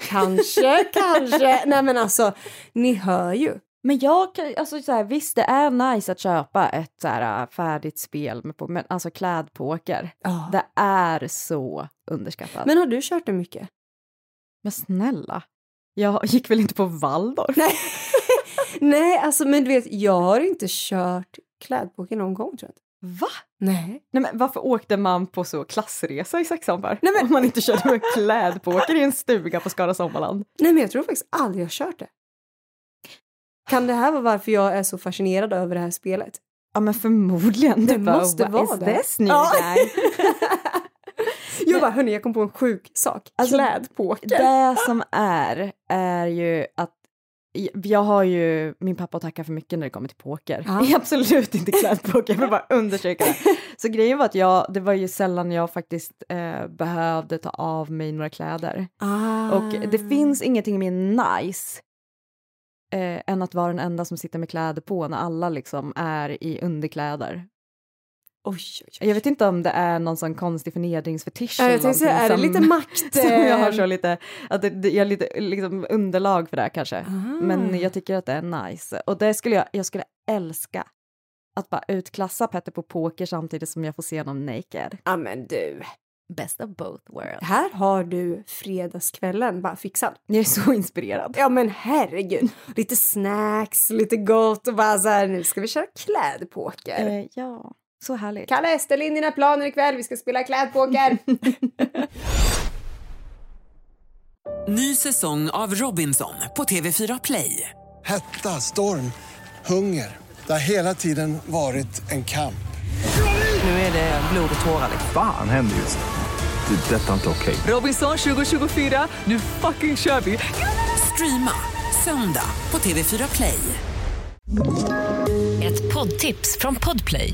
[SPEAKER 2] Kanske, kanske. Nej men alltså, ni hör ju.
[SPEAKER 1] Men jag kan, alltså så här, visst det är nice att köpa ett så här äh, färdigt spel med, po- men alltså klädpoker,
[SPEAKER 2] Ja.
[SPEAKER 1] det är så underskattat. Men,
[SPEAKER 2] Men har du kört det mycket?
[SPEAKER 1] snälla, jag gick väl inte på Waldorf?
[SPEAKER 2] Nej. Nej, alltså men du vet, jag har inte kört klädpoker någon gång tror jag. inte.
[SPEAKER 1] Va?
[SPEAKER 2] Nej.
[SPEAKER 1] Nej men varför åkte man på så klassresa i sexan Nej men om man inte körde med klädpoker i en stuga på Skara Sommarland.
[SPEAKER 2] Nej men jag tror faktiskt aldrig jag har kört det. Kan det här vara varför jag är så fascinerad över det här spelet?
[SPEAKER 1] Ja men förmodligen.
[SPEAKER 2] Det
[SPEAKER 1] Du bara,
[SPEAKER 2] måste
[SPEAKER 1] "What
[SPEAKER 2] vara
[SPEAKER 1] is
[SPEAKER 2] det."
[SPEAKER 1] this new
[SPEAKER 2] Ja.
[SPEAKER 1] guy?
[SPEAKER 2] Jag bara, hörni, jag kom på en sjuk sak.
[SPEAKER 1] Alltså,
[SPEAKER 2] Klädpoker.
[SPEAKER 1] Det som är, är ju att jag har ju min pappa att tacka för mycket när det kommer till poker.
[SPEAKER 2] Ja.
[SPEAKER 1] Det är absolut inte klädpoker, jag vill bara undersöka det. Så grejen var att jag, det var ju sällan jag faktiskt eh, behövde ta av mig några kläder.
[SPEAKER 2] Ah.
[SPEAKER 1] Och det finns ingenting mer nice eh, än att vara den enda som sitter med kläder på när alla liksom är i underkläder.
[SPEAKER 2] Oj, oj, oj.
[SPEAKER 1] Jag vet inte om det är någon sån konstig förnedringsfetisch
[SPEAKER 2] Ja,
[SPEAKER 1] eller
[SPEAKER 2] jag tänkte säga, är
[SPEAKER 1] någonting
[SPEAKER 2] det
[SPEAKER 1] som-
[SPEAKER 2] lite makt?
[SPEAKER 1] liksom som jag har så
[SPEAKER 2] eh,
[SPEAKER 1] lite, att det, det- jag har lite liksom underlag för det här kanske.
[SPEAKER 2] ah.
[SPEAKER 1] Men jag tycker att det är nice. Och det skulle jag, jag skulle älska att bara utklassa Petter på poker samtidigt som jag får se honom naked.
[SPEAKER 2] Ja, men du.
[SPEAKER 7] Best of both worlds.
[SPEAKER 2] Här har du fredagskvällen bara fixad.
[SPEAKER 1] Jag är så inspirerad.
[SPEAKER 2] Ja, men herregud. Lite snacks, lite gott och bara så här, nu ska vi köra klädpoker.
[SPEAKER 1] Eh, ja, så härligt.
[SPEAKER 2] Kalle, ställ in dina planer ikväll, vi ska spela klädpoker.
[SPEAKER 3] Ny säsong av Robinson på TV4 Play.
[SPEAKER 4] Hetta, storm, hunger. Det har hela tiden varit en kamp.
[SPEAKER 3] Nu är det blod och tårar. liksom.
[SPEAKER 5] Fan händer just det. Det är detta inte okej.
[SPEAKER 3] Robinson 2024, nu fucking kör vi! Streama söndag på TV4 Play.
[SPEAKER 6] Ett poddtips från Podplay.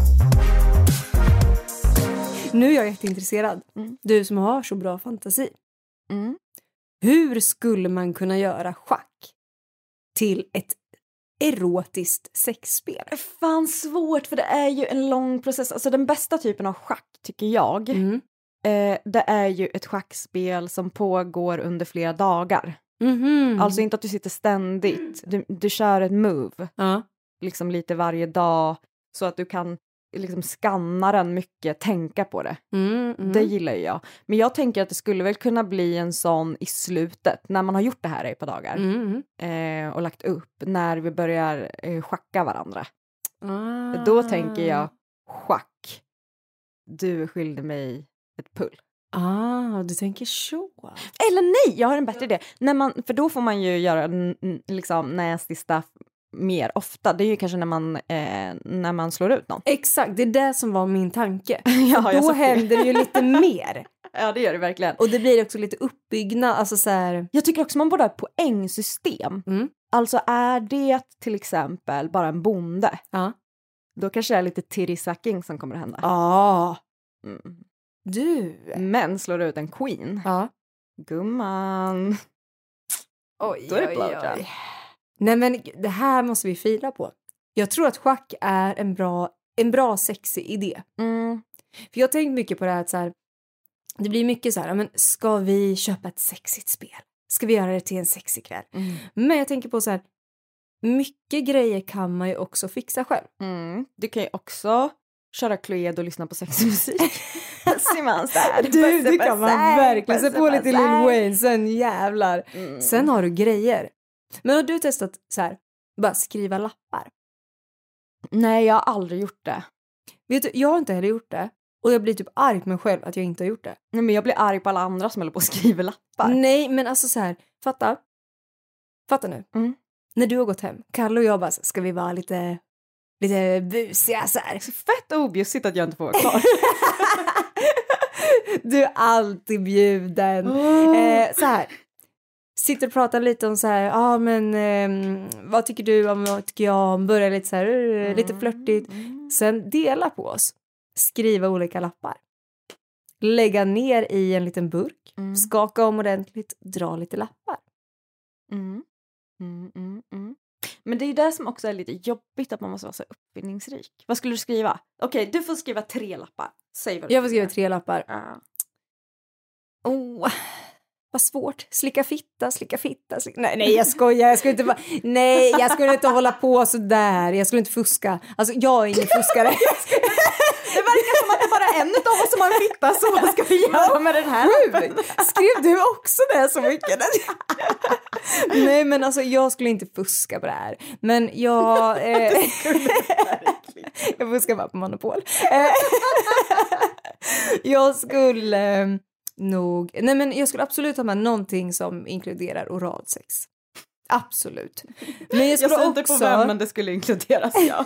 [SPEAKER 2] nu är jag jätteintresserad. Du som har så bra fantasi.
[SPEAKER 1] Mm.
[SPEAKER 2] Hur skulle man kunna göra schack till ett erotiskt sexspel?
[SPEAKER 1] Fan svårt, för det är ju en lång process. Alltså den bästa typen av schack, tycker jag,
[SPEAKER 2] Mm.
[SPEAKER 1] eh, det är ju ett schackspel som pågår under flera dagar.
[SPEAKER 2] Mhm.
[SPEAKER 1] Alltså inte att du sitter ständigt, du, du kör ett move.
[SPEAKER 2] ja.
[SPEAKER 1] liksom lite varje dag så att du kan liksom skanna den mycket, tänka på det.
[SPEAKER 2] Mm, mm.
[SPEAKER 1] Det gillar ju jag. Men jag tänker att det skulle väl kunna bli en sån i slutet när man har gjort det här i ett par dagar
[SPEAKER 2] Mm, mm.
[SPEAKER 1] eh, och lagt upp när vi börjar eh, schacka varandra.
[SPEAKER 2] Ah.
[SPEAKER 1] Då tänker jag schack. Du skyldig mig ett pull.
[SPEAKER 2] Ah, du tänker så.
[SPEAKER 1] Eller nej, jag har en bättre idé. När man, för då får man ju göra n- n- liksom nasty stuff mer ofta. Det är ju kanske när man, eh, när man slår ut någon.
[SPEAKER 2] Exakt, det är det som var min tanke.
[SPEAKER 1] Ja, jag
[SPEAKER 2] Då
[SPEAKER 1] sa fel.
[SPEAKER 2] händer det ju lite mer.
[SPEAKER 1] Ja, det gör det verkligen.
[SPEAKER 2] Och det blir också lite uppbyggnad, alltså så här...
[SPEAKER 1] Jag tycker också man borde ha ett poängsystem.
[SPEAKER 2] Mm.
[SPEAKER 1] Alltså är det till exempel bara en bonde,
[SPEAKER 2] Ja.
[SPEAKER 1] då kanske det är lite tirisacking som kommer att hända.
[SPEAKER 2] Ah,
[SPEAKER 1] Mm.
[SPEAKER 2] du.
[SPEAKER 1] Men slår du ut en queen,
[SPEAKER 2] Ja.
[SPEAKER 1] Gumman.
[SPEAKER 2] Oj,
[SPEAKER 1] Då är det blowjob.
[SPEAKER 2] Nej men det här måste vi fila på. Jag tror att schack är en bra, en bra sexig idé.
[SPEAKER 1] Mm.
[SPEAKER 2] För jag har tänkt mycket på det här att så här, det blir mycket så här, ja, men ska vi köpa ett sexigt spel? Ska vi göra det till en sexig kväll? Men jag tänker på så här, mycket grejer kan man ju också fixa själv.
[SPEAKER 1] Mm. Du kan ju också köra Cluedo och lyssna på sexig musik. Simmans där.
[SPEAKER 2] Äh, Du, det kan man verkligen. Sätt på lite Lil
[SPEAKER 1] Wayne.
[SPEAKER 2] Wayne, sen jävlar.
[SPEAKER 1] Mm.
[SPEAKER 2] Mm. Sen har du grejer. Men har du testat så här, bara skriva lappar?
[SPEAKER 1] Nej, jag har aldrig gjort det.
[SPEAKER 2] Vet du, jag har inte heller gjort det. Och jag blir typ arg på mig själv att jag inte har gjort det.
[SPEAKER 1] Nej, men jag blir arg på alla andra som håller på och skriver lappar.
[SPEAKER 2] Nej, men alltså så här, fatta. Fatta nu.
[SPEAKER 1] Mm.
[SPEAKER 2] När du har gått hem, Kalle och jag bara, så, ska vi vara lite, lite busiga så här.
[SPEAKER 1] Så fett objussigt att jag inte får vara kvar.
[SPEAKER 2] Du är alltid bjuden. Eh, så här. Sitter och pratar lite om så här, ja ah, men ehm, vad tycker du om, vad tycker jag om, börjar lite så här, eh, lite flörtigt.
[SPEAKER 1] Mm.
[SPEAKER 2] Sen dela på oss, skriva olika lappar. Lägga ner i en liten burk,
[SPEAKER 1] Mm.
[SPEAKER 2] skaka om ordentligt, dra lite lappar.
[SPEAKER 1] Mm. Mm, mm, mm. Men det är ju det som också är lite jobbigt att man måste vara så uppfinningsrik. Vad skulle du skriva? Okej, du får skriva tre lappar. Säg vad du
[SPEAKER 2] Jag får
[SPEAKER 1] skriver.
[SPEAKER 2] skriva tre lappar.
[SPEAKER 1] Ja.
[SPEAKER 2] Oh, vad svårt. Slicka fitta, slicka fitta. Slicka... Nej, nej, jag skojar. Jag skulle inte vara... Nej, jag skulle inte hålla på så där. Jag skulle inte fuska. Alltså, jag är ingen fuskare.
[SPEAKER 1] Det verkar som att det bara är en av oss som har en fitta så vad ska vi göra med den här?
[SPEAKER 2] Gud, Skrev du också det så mycket? Nej, men alltså jag skulle inte fuska på det här. Men jag... Eh... jag fuskar bara på Monopol. Eh, jag skulle eh, nog... Nej, men jag skulle absolut ha med någonting som inkluderar oralsex. Absolut. Men jag
[SPEAKER 1] Jag
[SPEAKER 2] skulle
[SPEAKER 1] sa inte
[SPEAKER 2] också...
[SPEAKER 1] på vem men det skulle inkluderas ja.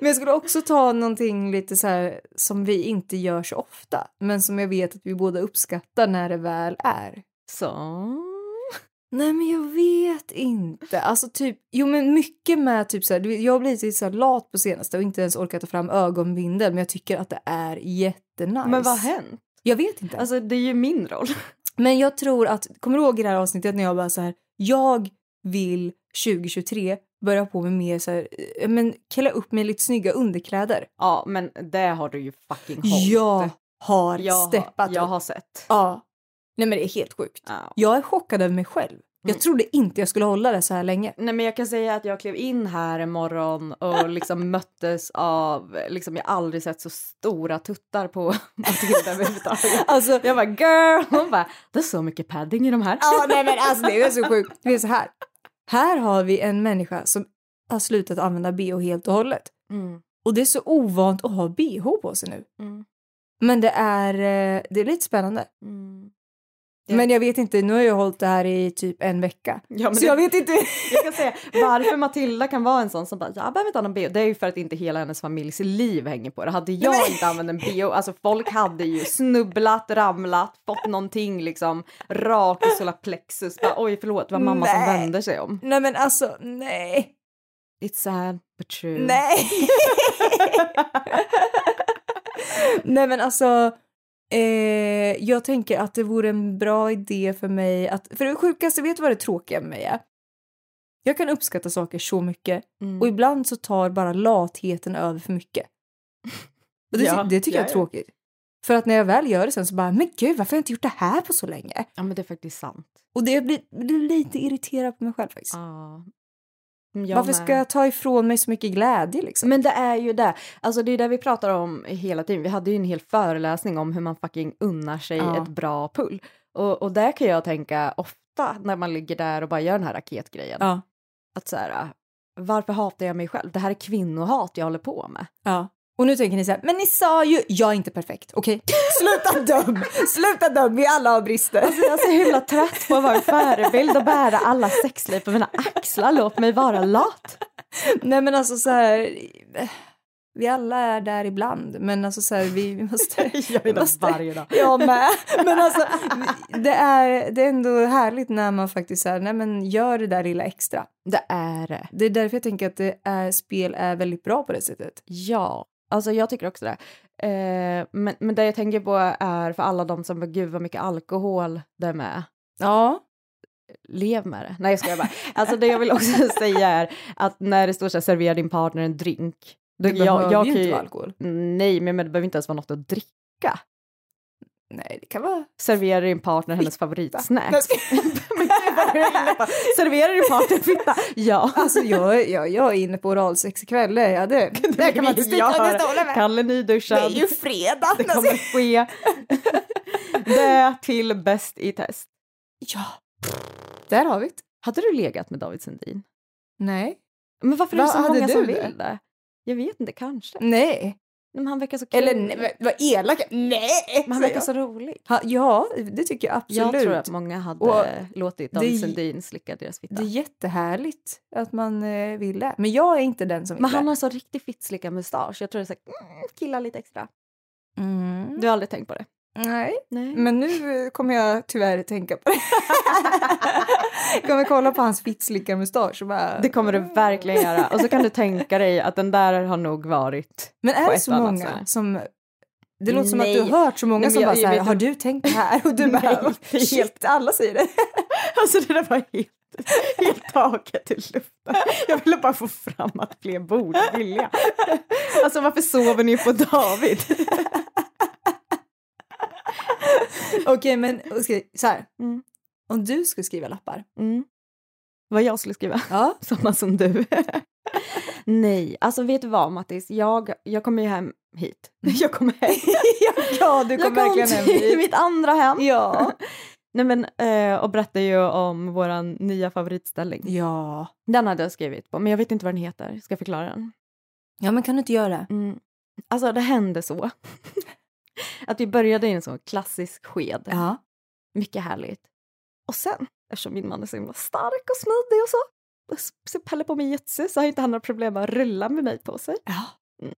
[SPEAKER 2] Men jag skulle också ta någonting lite så här som vi inte gör så ofta, men som jag vet att vi båda uppskattar när det väl är.
[SPEAKER 1] Så.
[SPEAKER 2] Nej men jag vet inte. Alltså typ, jo men mycket med typ så här, du vet, jag har blivit lite så här lat på senaste och inte ens orkat ta fram ögonbindel men jag tycker att det är jättenice.
[SPEAKER 1] Men vad har hänt?
[SPEAKER 2] Jag vet inte.
[SPEAKER 1] Alltså det är ju min roll.
[SPEAKER 2] Men jag tror att, kommer du ihåg i det här avsnittet när jag bara så här, jag vill 2023 börja på med mer så här, eh, men klä upp mig i lite snygga underkläder.
[SPEAKER 1] Ja men det har du ju fucking hållit.
[SPEAKER 2] Jag har
[SPEAKER 1] jag har-
[SPEAKER 2] steppat
[SPEAKER 1] Jag
[SPEAKER 2] upp.
[SPEAKER 1] har sett.
[SPEAKER 2] Ja. Nej men det är helt sjukt.
[SPEAKER 1] Ja.
[SPEAKER 2] Jag är chockad över mig själv.
[SPEAKER 1] Mm.
[SPEAKER 2] Jag trodde inte jag skulle hålla det så här länge.
[SPEAKER 1] Nej men jag kan säga att jag klev in här en morgon och liksom möttes av, liksom jag har aldrig sett så stora tuttar på Matilda överhuvudtaget.
[SPEAKER 2] Alltså,
[SPEAKER 1] Jag bara girl, hon bara det är så mycket padding i de här.
[SPEAKER 2] Ja, nej men alltså det är så sjukt. Det är så här. Här har vi en människa som har slutat använda bh helt och hållet.
[SPEAKER 1] Mm.
[SPEAKER 2] Och det är så ovant att ha bh på sig nu.
[SPEAKER 1] Mm.
[SPEAKER 2] Men det är, eh, det är lite spännande.
[SPEAKER 1] Mm.
[SPEAKER 2] Men jag vet inte, nu har jag hållit det här i typ en vecka.
[SPEAKER 1] Ja, men
[SPEAKER 2] så
[SPEAKER 1] det-
[SPEAKER 2] jag vet inte.
[SPEAKER 1] Jag kan säga varför Matilda kan vara en sån som bara jag behöver inte ha någon bh. Det är ju för att inte hela hennes familjs liv hänger på det. Hade jag inte använt en bh, alltså folk hade ju snubblat, ramlat, fått någonting liksom rak i solarplexus. Bara, Oj förlåt, det var mamma som
[SPEAKER 2] Nej.
[SPEAKER 1] vände sig om.
[SPEAKER 2] Nej men alltså, nej.
[SPEAKER 1] It's sad but true.
[SPEAKER 2] Nej. Nej men alltså eh, jag tänker att det vore en bra idé för mig att, för det sjukaste, vet du vad det tråkiga med mig är? Jag kan uppskatta saker så mycket
[SPEAKER 1] Mm.
[SPEAKER 2] och ibland så tar bara latheten över för mycket. Och det, ty-
[SPEAKER 1] Ja,
[SPEAKER 2] det tycker jag
[SPEAKER 1] ja,
[SPEAKER 2] är
[SPEAKER 1] ja.
[SPEAKER 2] tråkigt. För att när jag väl gör det sen så bara, men gud varför har jag inte gjort det här på så länge?
[SPEAKER 1] Ja men det är faktiskt sant.
[SPEAKER 2] Och det blir, blir lite irriterad på mig själv faktiskt.
[SPEAKER 1] Ja. Mm,
[SPEAKER 2] varför ska jag ta ifrån mig så mycket glädje liksom?
[SPEAKER 1] Men det är ju det. Alltså det är det vi pratar om hela tiden. Vi hade ju en hel föreläsning om hur man fucking unnar sig
[SPEAKER 2] Ja.
[SPEAKER 1] ett bra pull. Och, och där kan jag tänka ofta när man ligger där och bara gör den här raketgrejen.
[SPEAKER 2] Ja.
[SPEAKER 1] Att så här, äh, varför hatar jag mig själv? Det här är kvinnohat jag håller på med.
[SPEAKER 2] Ja. Och nu tänker ni så här, men ni sa ju jag är inte perfekt, okej? Sluta döm! Sluta döm, vi alla har brister.
[SPEAKER 1] Alltså jag är så himla trött på att vara en förebild och bära alla sexliv på mina axlar. Låt mig vara lat.
[SPEAKER 2] Nej men alltså så här, eh, vi alla är där ibland, men alltså så här, vi vi måste...
[SPEAKER 1] Jag är där varje dag.
[SPEAKER 2] Jag med. Men alltså, det är, det är ändå härligt när man faktiskt så här, nej men gör det där lilla extra.
[SPEAKER 1] Det är det.
[SPEAKER 2] Det är därför jag tänker att det är, spel är väldigt bra på det sättet.
[SPEAKER 1] Ja. Alltså jag tycker också det. Eh, men, men det jag tänker på är för alla de som bara, gud vad mycket alkohol det är med.
[SPEAKER 2] Ja.
[SPEAKER 1] Lev med det. Nej jag skojar bara. Alltså det jag vill också säga är att när det står så här servera din partner en drink. Då,
[SPEAKER 2] Det behöver ju
[SPEAKER 1] kan
[SPEAKER 2] inte vara alkohol.
[SPEAKER 1] Nej men men det behöver inte ens vara något att dricka.
[SPEAKER 2] Nej, det kan vara...
[SPEAKER 1] Servera din partner hennes favoritsnack.
[SPEAKER 2] Nej, ska-
[SPEAKER 1] Servera din partner fitta. Ja.
[SPEAKER 2] Alltså jag, jag, jag är inne på oralsex ikväll. Ja, det, det kan man inte
[SPEAKER 1] Jag
[SPEAKER 2] sticka under stolen med.
[SPEAKER 1] Kalle nyduschad.
[SPEAKER 2] Det är ju alltså. fredag.
[SPEAKER 1] Det kommer ske. det till Bäst i test.
[SPEAKER 2] Ja, där har vi det.
[SPEAKER 1] Hade du legat med David Sundin?
[SPEAKER 2] Nej.
[SPEAKER 1] Men varför är
[SPEAKER 2] Va,
[SPEAKER 1] det så
[SPEAKER 2] hade
[SPEAKER 1] många
[SPEAKER 2] du
[SPEAKER 1] som
[SPEAKER 2] det?
[SPEAKER 1] vill det? Jag vet inte, kanske. Nej,
[SPEAKER 2] Nej.
[SPEAKER 1] Men han verkar så kul.
[SPEAKER 2] Eller nej, men vad elak. Nej!
[SPEAKER 1] men han Mm.
[SPEAKER 2] säger
[SPEAKER 1] verkar
[SPEAKER 2] jag.
[SPEAKER 1] så rolig.
[SPEAKER 2] Ha, ja, det tycker jag absolut.
[SPEAKER 1] Jag tror att många hade
[SPEAKER 2] Och
[SPEAKER 1] låtit David
[SPEAKER 2] det-
[SPEAKER 1] Sundin slicka deras fitta.
[SPEAKER 2] Det är jättehärligt att man eh, vill det. Men jag är inte den som vill
[SPEAKER 1] men han
[SPEAKER 2] det.
[SPEAKER 1] har så riktigt fittslicka mustasch. Jag tror det är så här, mm, killar lite extra.
[SPEAKER 2] Mm.
[SPEAKER 1] Du har aldrig tänkt på det?
[SPEAKER 2] Nej,
[SPEAKER 1] Nej.
[SPEAKER 2] men nu eh, kommer jag tyvärr tänka på det. jag kommer kolla på hans fittslicka mustasch och bara...
[SPEAKER 1] Det kommer du verkligen göra. Och så kan du tänka dig att den där har nog varit...
[SPEAKER 2] Men är
[SPEAKER 1] på
[SPEAKER 2] det
[SPEAKER 1] ett
[SPEAKER 2] så
[SPEAKER 1] annat
[SPEAKER 2] många
[SPEAKER 1] sätt.
[SPEAKER 2] som... Det låter som att du
[SPEAKER 1] Nej.
[SPEAKER 2] har hört så många
[SPEAKER 1] Nej, men
[SPEAKER 2] som
[SPEAKER 1] jag-
[SPEAKER 2] bara så
[SPEAKER 1] jag
[SPEAKER 2] här,
[SPEAKER 1] vet
[SPEAKER 2] har
[SPEAKER 1] inte.
[SPEAKER 2] du tänkt det här? Och du
[SPEAKER 1] Nej,
[SPEAKER 2] bara,
[SPEAKER 1] det är helt-
[SPEAKER 2] shit, alla säger det.
[SPEAKER 1] Alltså det där var helt, helt taget i luften. Jag ville bara få fram att fler borde vilja. Alltså varför sover ni på David?
[SPEAKER 2] Okej, men okej, så här.
[SPEAKER 1] Mm.
[SPEAKER 2] Om du skulle skriva lappar.
[SPEAKER 1] Mm. Vad jag skulle skriva?
[SPEAKER 2] Ja.
[SPEAKER 1] Samma som du. Nej, alltså vet du vad Mattis? Jag, jag kommer ju hem hit. Jag kommer hem.
[SPEAKER 2] Mm. ja, du
[SPEAKER 1] jag
[SPEAKER 2] kom
[SPEAKER 1] kom
[SPEAKER 2] verkligen hem
[SPEAKER 1] till
[SPEAKER 2] dit.
[SPEAKER 1] mitt andra hem.
[SPEAKER 2] Ja.
[SPEAKER 1] Nej men, eh, och berättar ju om våran nya favoritställning.
[SPEAKER 2] ja.
[SPEAKER 1] Den hade jag skrivit på, men jag vet inte vad den heter. Ska jag förklara den?
[SPEAKER 2] Ja, men kan du inte göra det?
[SPEAKER 1] Mm. Alltså det hände så. att vi började i en sån klassisk sked.
[SPEAKER 2] Ja.
[SPEAKER 1] Mycket härligt. Och sen, eftersom min man är så himla stark och smidig och så, och så Pelle på mig jitsu så har ju inte han några problem med att rulla med mig på sig.
[SPEAKER 2] Ja.
[SPEAKER 1] Mm.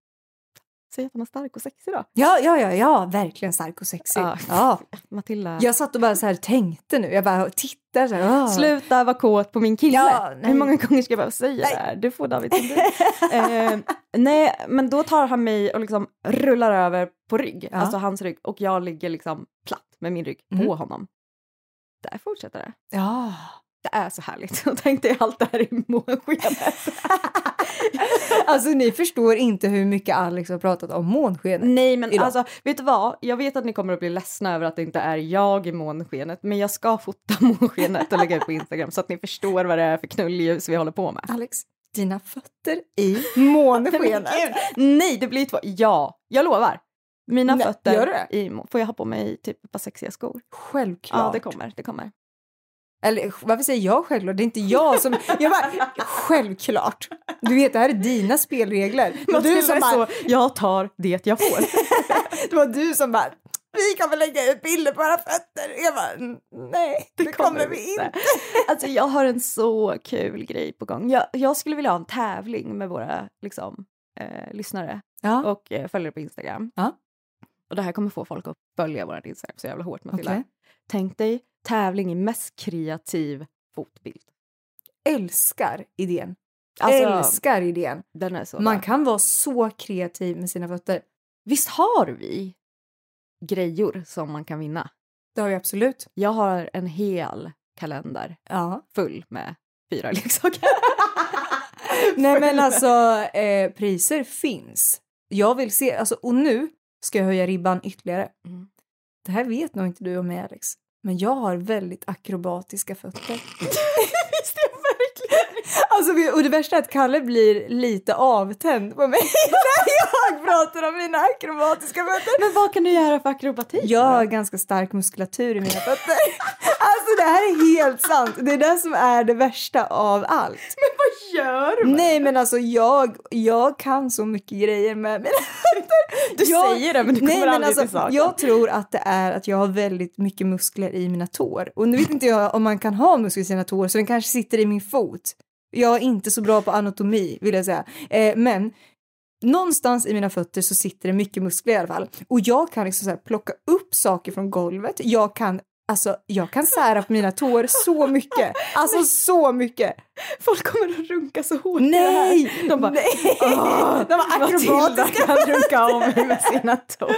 [SPEAKER 1] Säg att han är stark och sexig då.
[SPEAKER 2] Ja, ja, ja, ja, verkligen stark och sexig.
[SPEAKER 1] Ja.
[SPEAKER 2] Ja.
[SPEAKER 1] Matilda,
[SPEAKER 2] Jag satt och bara så här tänkte nu, jag bara tittar så här. ah.
[SPEAKER 1] sluta vara kåt på min kille.
[SPEAKER 2] Ja, nej.
[SPEAKER 1] Hur många gånger ska jag behöva säga det här? Du får David som du. eh, Nej, men då tar han mig och liksom rullar över på rygg,
[SPEAKER 2] Ja.
[SPEAKER 1] alltså hans rygg, och jag ligger liksom platt med min rygg på
[SPEAKER 2] Mm.
[SPEAKER 1] honom. Där fortsätter det.
[SPEAKER 2] Ja.
[SPEAKER 1] Det är så härligt. Och tänkte jag allt det här i månskenet.
[SPEAKER 2] Alltså ni förstår inte hur mycket Alex har pratat om månskenet.
[SPEAKER 1] Nej, men
[SPEAKER 2] Idag.
[SPEAKER 1] alltså, vet du vad? Jag vet att ni kommer att bli ledsna över att det inte är jag i månskenet, men jag ska fota månskenet och lägga ut på Instagram så att ni förstår vad det är för knullljus vi håller på med.
[SPEAKER 2] Alex, dina fötter i månskenet.
[SPEAKER 1] Nej, det blir två. Ja, jag lovar. Mina
[SPEAKER 2] Nej,
[SPEAKER 1] fötter
[SPEAKER 2] gör du det?
[SPEAKER 1] i må- Får jag ha på mig typ ett par sexiga skor?
[SPEAKER 2] Självklart.
[SPEAKER 1] Ja, det kommer. Det kommer.
[SPEAKER 2] Eller varför säger jag självklart? Det är inte jag som... Jag bara, självklart. Du vet, det här är dina spelregler. Men
[SPEAKER 1] Matilda
[SPEAKER 2] du
[SPEAKER 1] är
[SPEAKER 2] som bara,
[SPEAKER 1] så, jag tar det jag får.
[SPEAKER 2] det var du som bara, vi kommer lägga ut bilder på våra fötter. Jag bara, nej, det, kommer vi inte.
[SPEAKER 1] Alltså jag har en så kul grej på gång. Jag, jag skulle vilja ha en tävling med våra liksom, eh, lyssnare
[SPEAKER 2] Ja,
[SPEAKER 1] och eh, följare på Instagram.
[SPEAKER 2] Ja.
[SPEAKER 1] Och det här kommer få folk att följa vår Instagram så jävla hårt Matilda.
[SPEAKER 2] okej.
[SPEAKER 1] Tänk dig tävling i mest kreativ fotbild.
[SPEAKER 2] Älskar idén.
[SPEAKER 1] Alltså,
[SPEAKER 2] Älskar idén.
[SPEAKER 1] den är så
[SPEAKER 2] Man
[SPEAKER 1] bra.
[SPEAKER 2] kan vara så kreativ med sina fötter.
[SPEAKER 1] Visst har vi grejor som man kan vinna?
[SPEAKER 2] Det har vi absolut.
[SPEAKER 1] Jag har en hel kalender
[SPEAKER 2] Ja.
[SPEAKER 1] full med fyra leksaker.
[SPEAKER 2] Nej men alltså eh, priser finns. Jag vill se, alltså och nu ska jag höja ribban ytterligare.
[SPEAKER 1] Mm.
[SPEAKER 2] Det här vet nog inte du om mig Alex, men jag har väldigt akrobatiska fötter. Visst är jag verkligen? Alltså vi- och det värsta är att Kalle blir lite avtänd på mig när jag pratar om mina akrobatiska fötter.
[SPEAKER 1] Men vad kan du göra för akrobatik?
[SPEAKER 2] Jag har ganska stark muskulatur i mina fötter. Alltså det här är helt sant. Det är det som är det värsta av allt.
[SPEAKER 1] Vad gör du?
[SPEAKER 2] Nej men alltså jag, jag kan så mycket grejer med mina fötter.
[SPEAKER 1] Du
[SPEAKER 2] jag,
[SPEAKER 1] säger det, men du kommer
[SPEAKER 2] nej, men
[SPEAKER 1] aldrig
[SPEAKER 2] alltså,
[SPEAKER 1] till saken.
[SPEAKER 2] Jag tror att det är att jag har väldigt mycket muskler i mina tår. Och nu vet inte jag om man kan ha muskler i sina tår så den kanske sitter i min fot. Jag är inte så bra på anatomi vill jag säga. Eh, men någonstans i mina fötter så sitter det mycket muskler i alla fall. Och jag kan liksom så här plocka upp saker från golvet. Jag kan Alltså jag kan sära på mina tår så mycket. Alltså så mycket.
[SPEAKER 1] Folk kommer att runka så hårt i det här.
[SPEAKER 2] Nej!
[SPEAKER 1] De bara,
[SPEAKER 2] nej.
[SPEAKER 1] "Åh,
[SPEAKER 2] De var
[SPEAKER 1] Matilda
[SPEAKER 2] akrobatiska.
[SPEAKER 1] kan runka om mig med sina tår.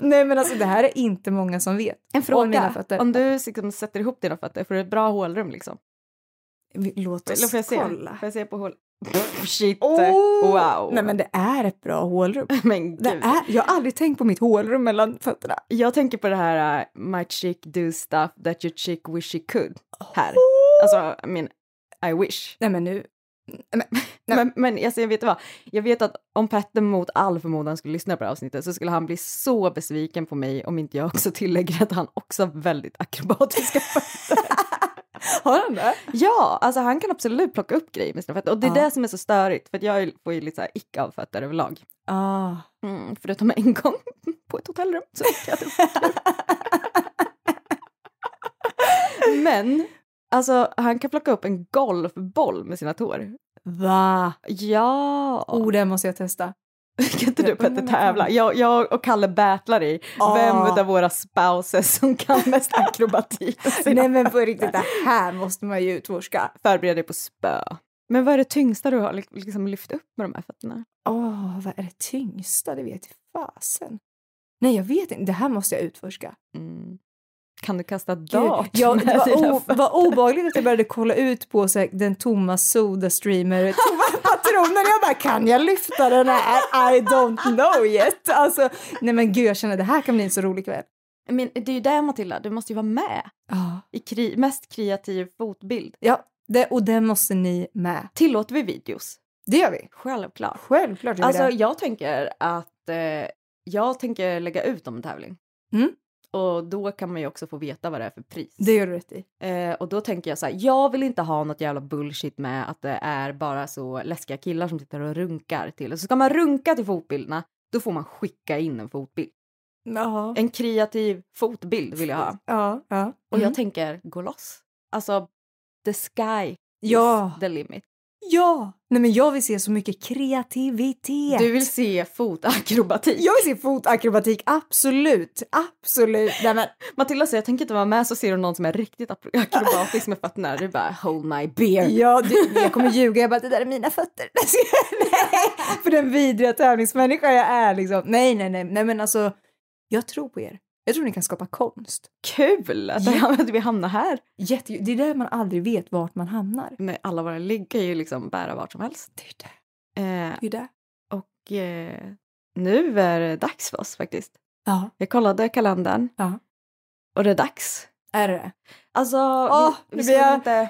[SPEAKER 2] Nej men alltså det här är inte många som vet.
[SPEAKER 1] En
[SPEAKER 2] Om mina fötter.
[SPEAKER 1] Om du liksom sätter ihop dina fötter, får du ett bra hålrum liksom?
[SPEAKER 2] Låt
[SPEAKER 1] Eller
[SPEAKER 2] oss
[SPEAKER 1] får jag se?
[SPEAKER 2] kolla.
[SPEAKER 1] Får jag se på hål... Shit!
[SPEAKER 2] Åh!
[SPEAKER 1] Wow!
[SPEAKER 2] Nej men det är ett bra hålrum.
[SPEAKER 1] Men gud.
[SPEAKER 2] Det är, jag har aldrig tänkt på mitt hålrum mellan fötterna.
[SPEAKER 1] Jag tänker på det här uh, my chick do stuff that your chick wish she could. Här. Alltså, I mean, I wish.
[SPEAKER 2] Nej men nu.
[SPEAKER 1] Men, men alltså, jag vet vad, jag vet att om Petter mot all förmodan skulle lyssna på det här avsnittet så skulle han bli så besviken på mig om inte jag också tillägger att han också har väldigt akrobatiska fötter.
[SPEAKER 2] Har han det?
[SPEAKER 1] Ja, alltså han kan absolut plocka upp grejer med sina fötter och det är
[SPEAKER 2] Ja.
[SPEAKER 1] det som är så störigt för att jag får ju lite så här ick av fötter överlag.
[SPEAKER 2] Ah.
[SPEAKER 1] Mm, förutom en gång på ett hotellrum så fick jag typ det. Men alltså han kan plocka upp en golfboll med sina tår.
[SPEAKER 2] Va?
[SPEAKER 1] Ja!
[SPEAKER 2] Oh, det måste jag testa.
[SPEAKER 1] Kan inte du
[SPEAKER 2] jag undrar
[SPEAKER 1] Petter
[SPEAKER 2] om jag kan.
[SPEAKER 1] tävla? Jag, jag och Kalle battlar i
[SPEAKER 2] Ah.
[SPEAKER 1] vem av våra spouses som kan mest akrobatik. med sina
[SPEAKER 2] Nej men på riktigt, det här måste man ju utforska.
[SPEAKER 1] förbereda dig på spö. Men vad är det tyngsta du har li- liksom lyft upp med de här fötterna?
[SPEAKER 2] Åh, vad är det tyngsta? Det vet jag fasen. Nej, jag vet inte. Det här måste jag utforska.
[SPEAKER 1] Mm. Kan du kasta
[SPEAKER 2] Gud,
[SPEAKER 1] dart
[SPEAKER 2] jag,
[SPEAKER 1] med
[SPEAKER 2] det var,
[SPEAKER 1] dina
[SPEAKER 2] o,
[SPEAKER 1] fötter?
[SPEAKER 2] var obehagligt att jag började kolla ut på så här, den tomma Sodastreamer tomma patronen. Jag bara, kan jag lyfta den här? I don't know yet. Alltså, nej men gud, jag känner det här kan bli en så rolig kväll.
[SPEAKER 1] Men det är ju där Matilda, du måste ju vara med
[SPEAKER 2] Ja,
[SPEAKER 1] i kri- mest kreativ fotbild.
[SPEAKER 2] Ja, det, och det måste ni med.
[SPEAKER 1] Tillåter vi videos?
[SPEAKER 2] Det gör vi.
[SPEAKER 1] Självklart.
[SPEAKER 2] Självklart gör vi
[SPEAKER 1] Alltså
[SPEAKER 2] det.
[SPEAKER 1] jag tänker att eh, jag tänker lägga ut om en tävling.
[SPEAKER 2] Mm.
[SPEAKER 1] Och då kan man ju också få veta vad det är för pris.
[SPEAKER 2] Det gör du rätt i.
[SPEAKER 1] Eh, och då tänker jag så här, jag vill inte ha något jävla bullshit med att det är bara så läskiga killar som sitter och runkar till. Och så ska man runka till fotbilderna, då får man skicka in en fotbild.
[SPEAKER 2] Jaha.
[SPEAKER 1] En kreativ fotbild vill jag ha.
[SPEAKER 2] Ja, ja.
[SPEAKER 1] Och jag tänker gå loss. Alltså, the sky
[SPEAKER 2] Ja.
[SPEAKER 1] is the limit.
[SPEAKER 2] Ja! Nej men jag vill se så mycket kreativitet.
[SPEAKER 1] Du vill se fotakrobatik.
[SPEAKER 2] Jag vill se fotakrobatik, absolut, absolut. Nej men,
[SPEAKER 1] Matilda säger jag tänker inte vara med så ser du någon som är riktigt ak- akrobatisk med fötterna. Du bara hold my beer.
[SPEAKER 2] ja, du, jag kommer ljuga, jag bara det där är mina fötter. nej, för den vidriga tävlingsmänniska jag är liksom. Nej, nej, nej, nej men alltså jag tror på er. Jag tror ni kan skapa konst.
[SPEAKER 1] Kul att att vi hamnar här.
[SPEAKER 2] Jätte, det är där man aldrig vet vart man hamnar.
[SPEAKER 1] Men alla våra ligg kan ju liksom bära vart som helst.
[SPEAKER 2] Det är ju det.
[SPEAKER 1] Eh,
[SPEAKER 2] Det är ju det.
[SPEAKER 1] och eh, nu är det dags för oss faktiskt.
[SPEAKER 2] Ja,
[SPEAKER 1] Jag kollade kalendern
[SPEAKER 2] Ja.
[SPEAKER 1] och det är dags.
[SPEAKER 2] är det det?
[SPEAKER 1] Alltså,
[SPEAKER 2] Åh,
[SPEAKER 1] vi,
[SPEAKER 2] nu
[SPEAKER 1] vi
[SPEAKER 2] blir
[SPEAKER 1] skulle
[SPEAKER 2] jag-
[SPEAKER 1] inte...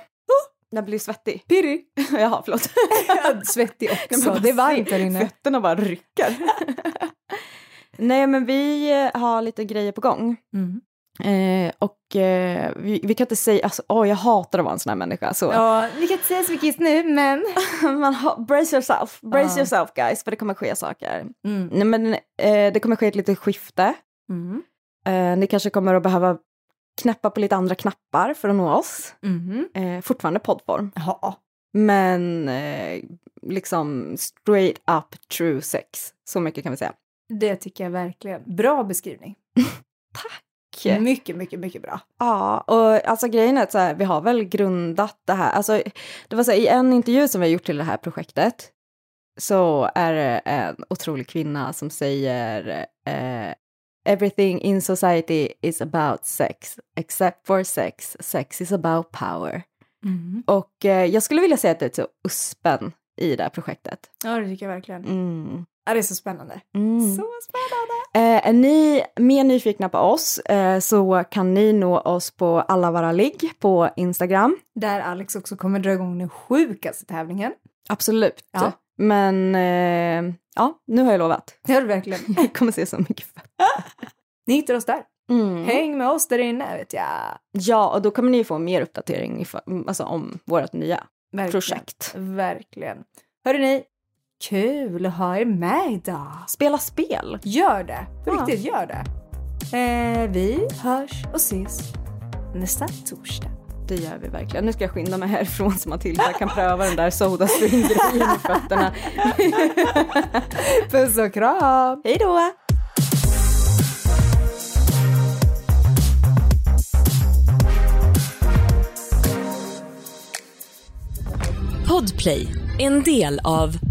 [SPEAKER 1] Jag blir svettig.
[SPEAKER 2] Pirrig.
[SPEAKER 1] Jaha, förlåt.
[SPEAKER 2] Svettig
[SPEAKER 1] Nej, men
[SPEAKER 2] också.
[SPEAKER 1] bara
[SPEAKER 2] Det är varmt
[SPEAKER 1] se,
[SPEAKER 2] där inne.
[SPEAKER 1] Fötterna bara rycker. Nej, men vi eh, har lite grejer på gång.
[SPEAKER 2] Mm.
[SPEAKER 1] Eh, och eh, vi, vi kan inte säga, alltså, åh jag hatar att vara en sån här människa. Så.
[SPEAKER 2] Ja, vi kan inte säga så mycket just nu, men.
[SPEAKER 1] Man ha, brace yourself, brace
[SPEAKER 2] Ja.
[SPEAKER 1] yourself guys, för det kommer ske saker.
[SPEAKER 2] Mm.
[SPEAKER 1] Nej men eh, det kommer ske ett litet skifte.
[SPEAKER 2] Mm.
[SPEAKER 1] Eh, ni kanske kommer att behöva knäppa på lite andra knappar för att nå oss.
[SPEAKER 2] Mm.
[SPEAKER 1] Eh, fortfarande poddform,
[SPEAKER 2] Ja.
[SPEAKER 1] men eh, liksom straight up true sex. Så mycket kan vi säga.
[SPEAKER 2] Det tycker jag verkligen. Bra beskrivning.
[SPEAKER 1] Tack.
[SPEAKER 2] Mycket, mycket, mycket bra.
[SPEAKER 1] Ja, och alltså grejen är att så här, vi har väl grundat det här. Alltså, det var så här, I en intervju som vi har gjort till det här projektet så är det en otrolig kvinna som säger eh, Everything in society is about sex, except for sex. Sex is about power.
[SPEAKER 2] Mm.
[SPEAKER 1] Och eh, jag skulle vilja säga att det är så uspen i det här projektet.
[SPEAKER 2] Ja, det tycker jag verkligen.
[SPEAKER 1] Mm.
[SPEAKER 2] Ja, det är så spännande. Så spännande!
[SPEAKER 1] Eh, är ni mer nyfikna på oss eh, så kan ni nå oss på alla våra ligg på Instagram.
[SPEAKER 2] Där Alex också kommer dra igång den sjukaste tävlingen.
[SPEAKER 1] Absolut.
[SPEAKER 2] Ja.
[SPEAKER 1] Men eh, ja, nu har jag lovat.
[SPEAKER 2] Det gör du verkligen.
[SPEAKER 1] Jag kommer se så mycket fett.
[SPEAKER 2] Ni hittar oss där.
[SPEAKER 1] Mm.
[SPEAKER 2] Häng med oss där inne, vet jag.
[SPEAKER 1] Ja, och då kommer ni få mer uppdatering if- alltså, om vårt nya
[SPEAKER 2] Verkligen.
[SPEAKER 1] projekt.
[SPEAKER 2] Verkligen. Hörde ni? Kul att ha er med idag.
[SPEAKER 1] Spela spel.
[SPEAKER 2] Gör det! På
[SPEAKER 1] Ja.
[SPEAKER 2] riktigt, gör det. Eh, vi hörs och ses nästa torsdag.
[SPEAKER 1] Det gör vi verkligen. Nu ska jag skynda mig härifrån så Matilda kan pröva den där Sodastream-grejen med fötterna.
[SPEAKER 2] Puss och kram!
[SPEAKER 1] Hej då!
[SPEAKER 6] Podplay, en del av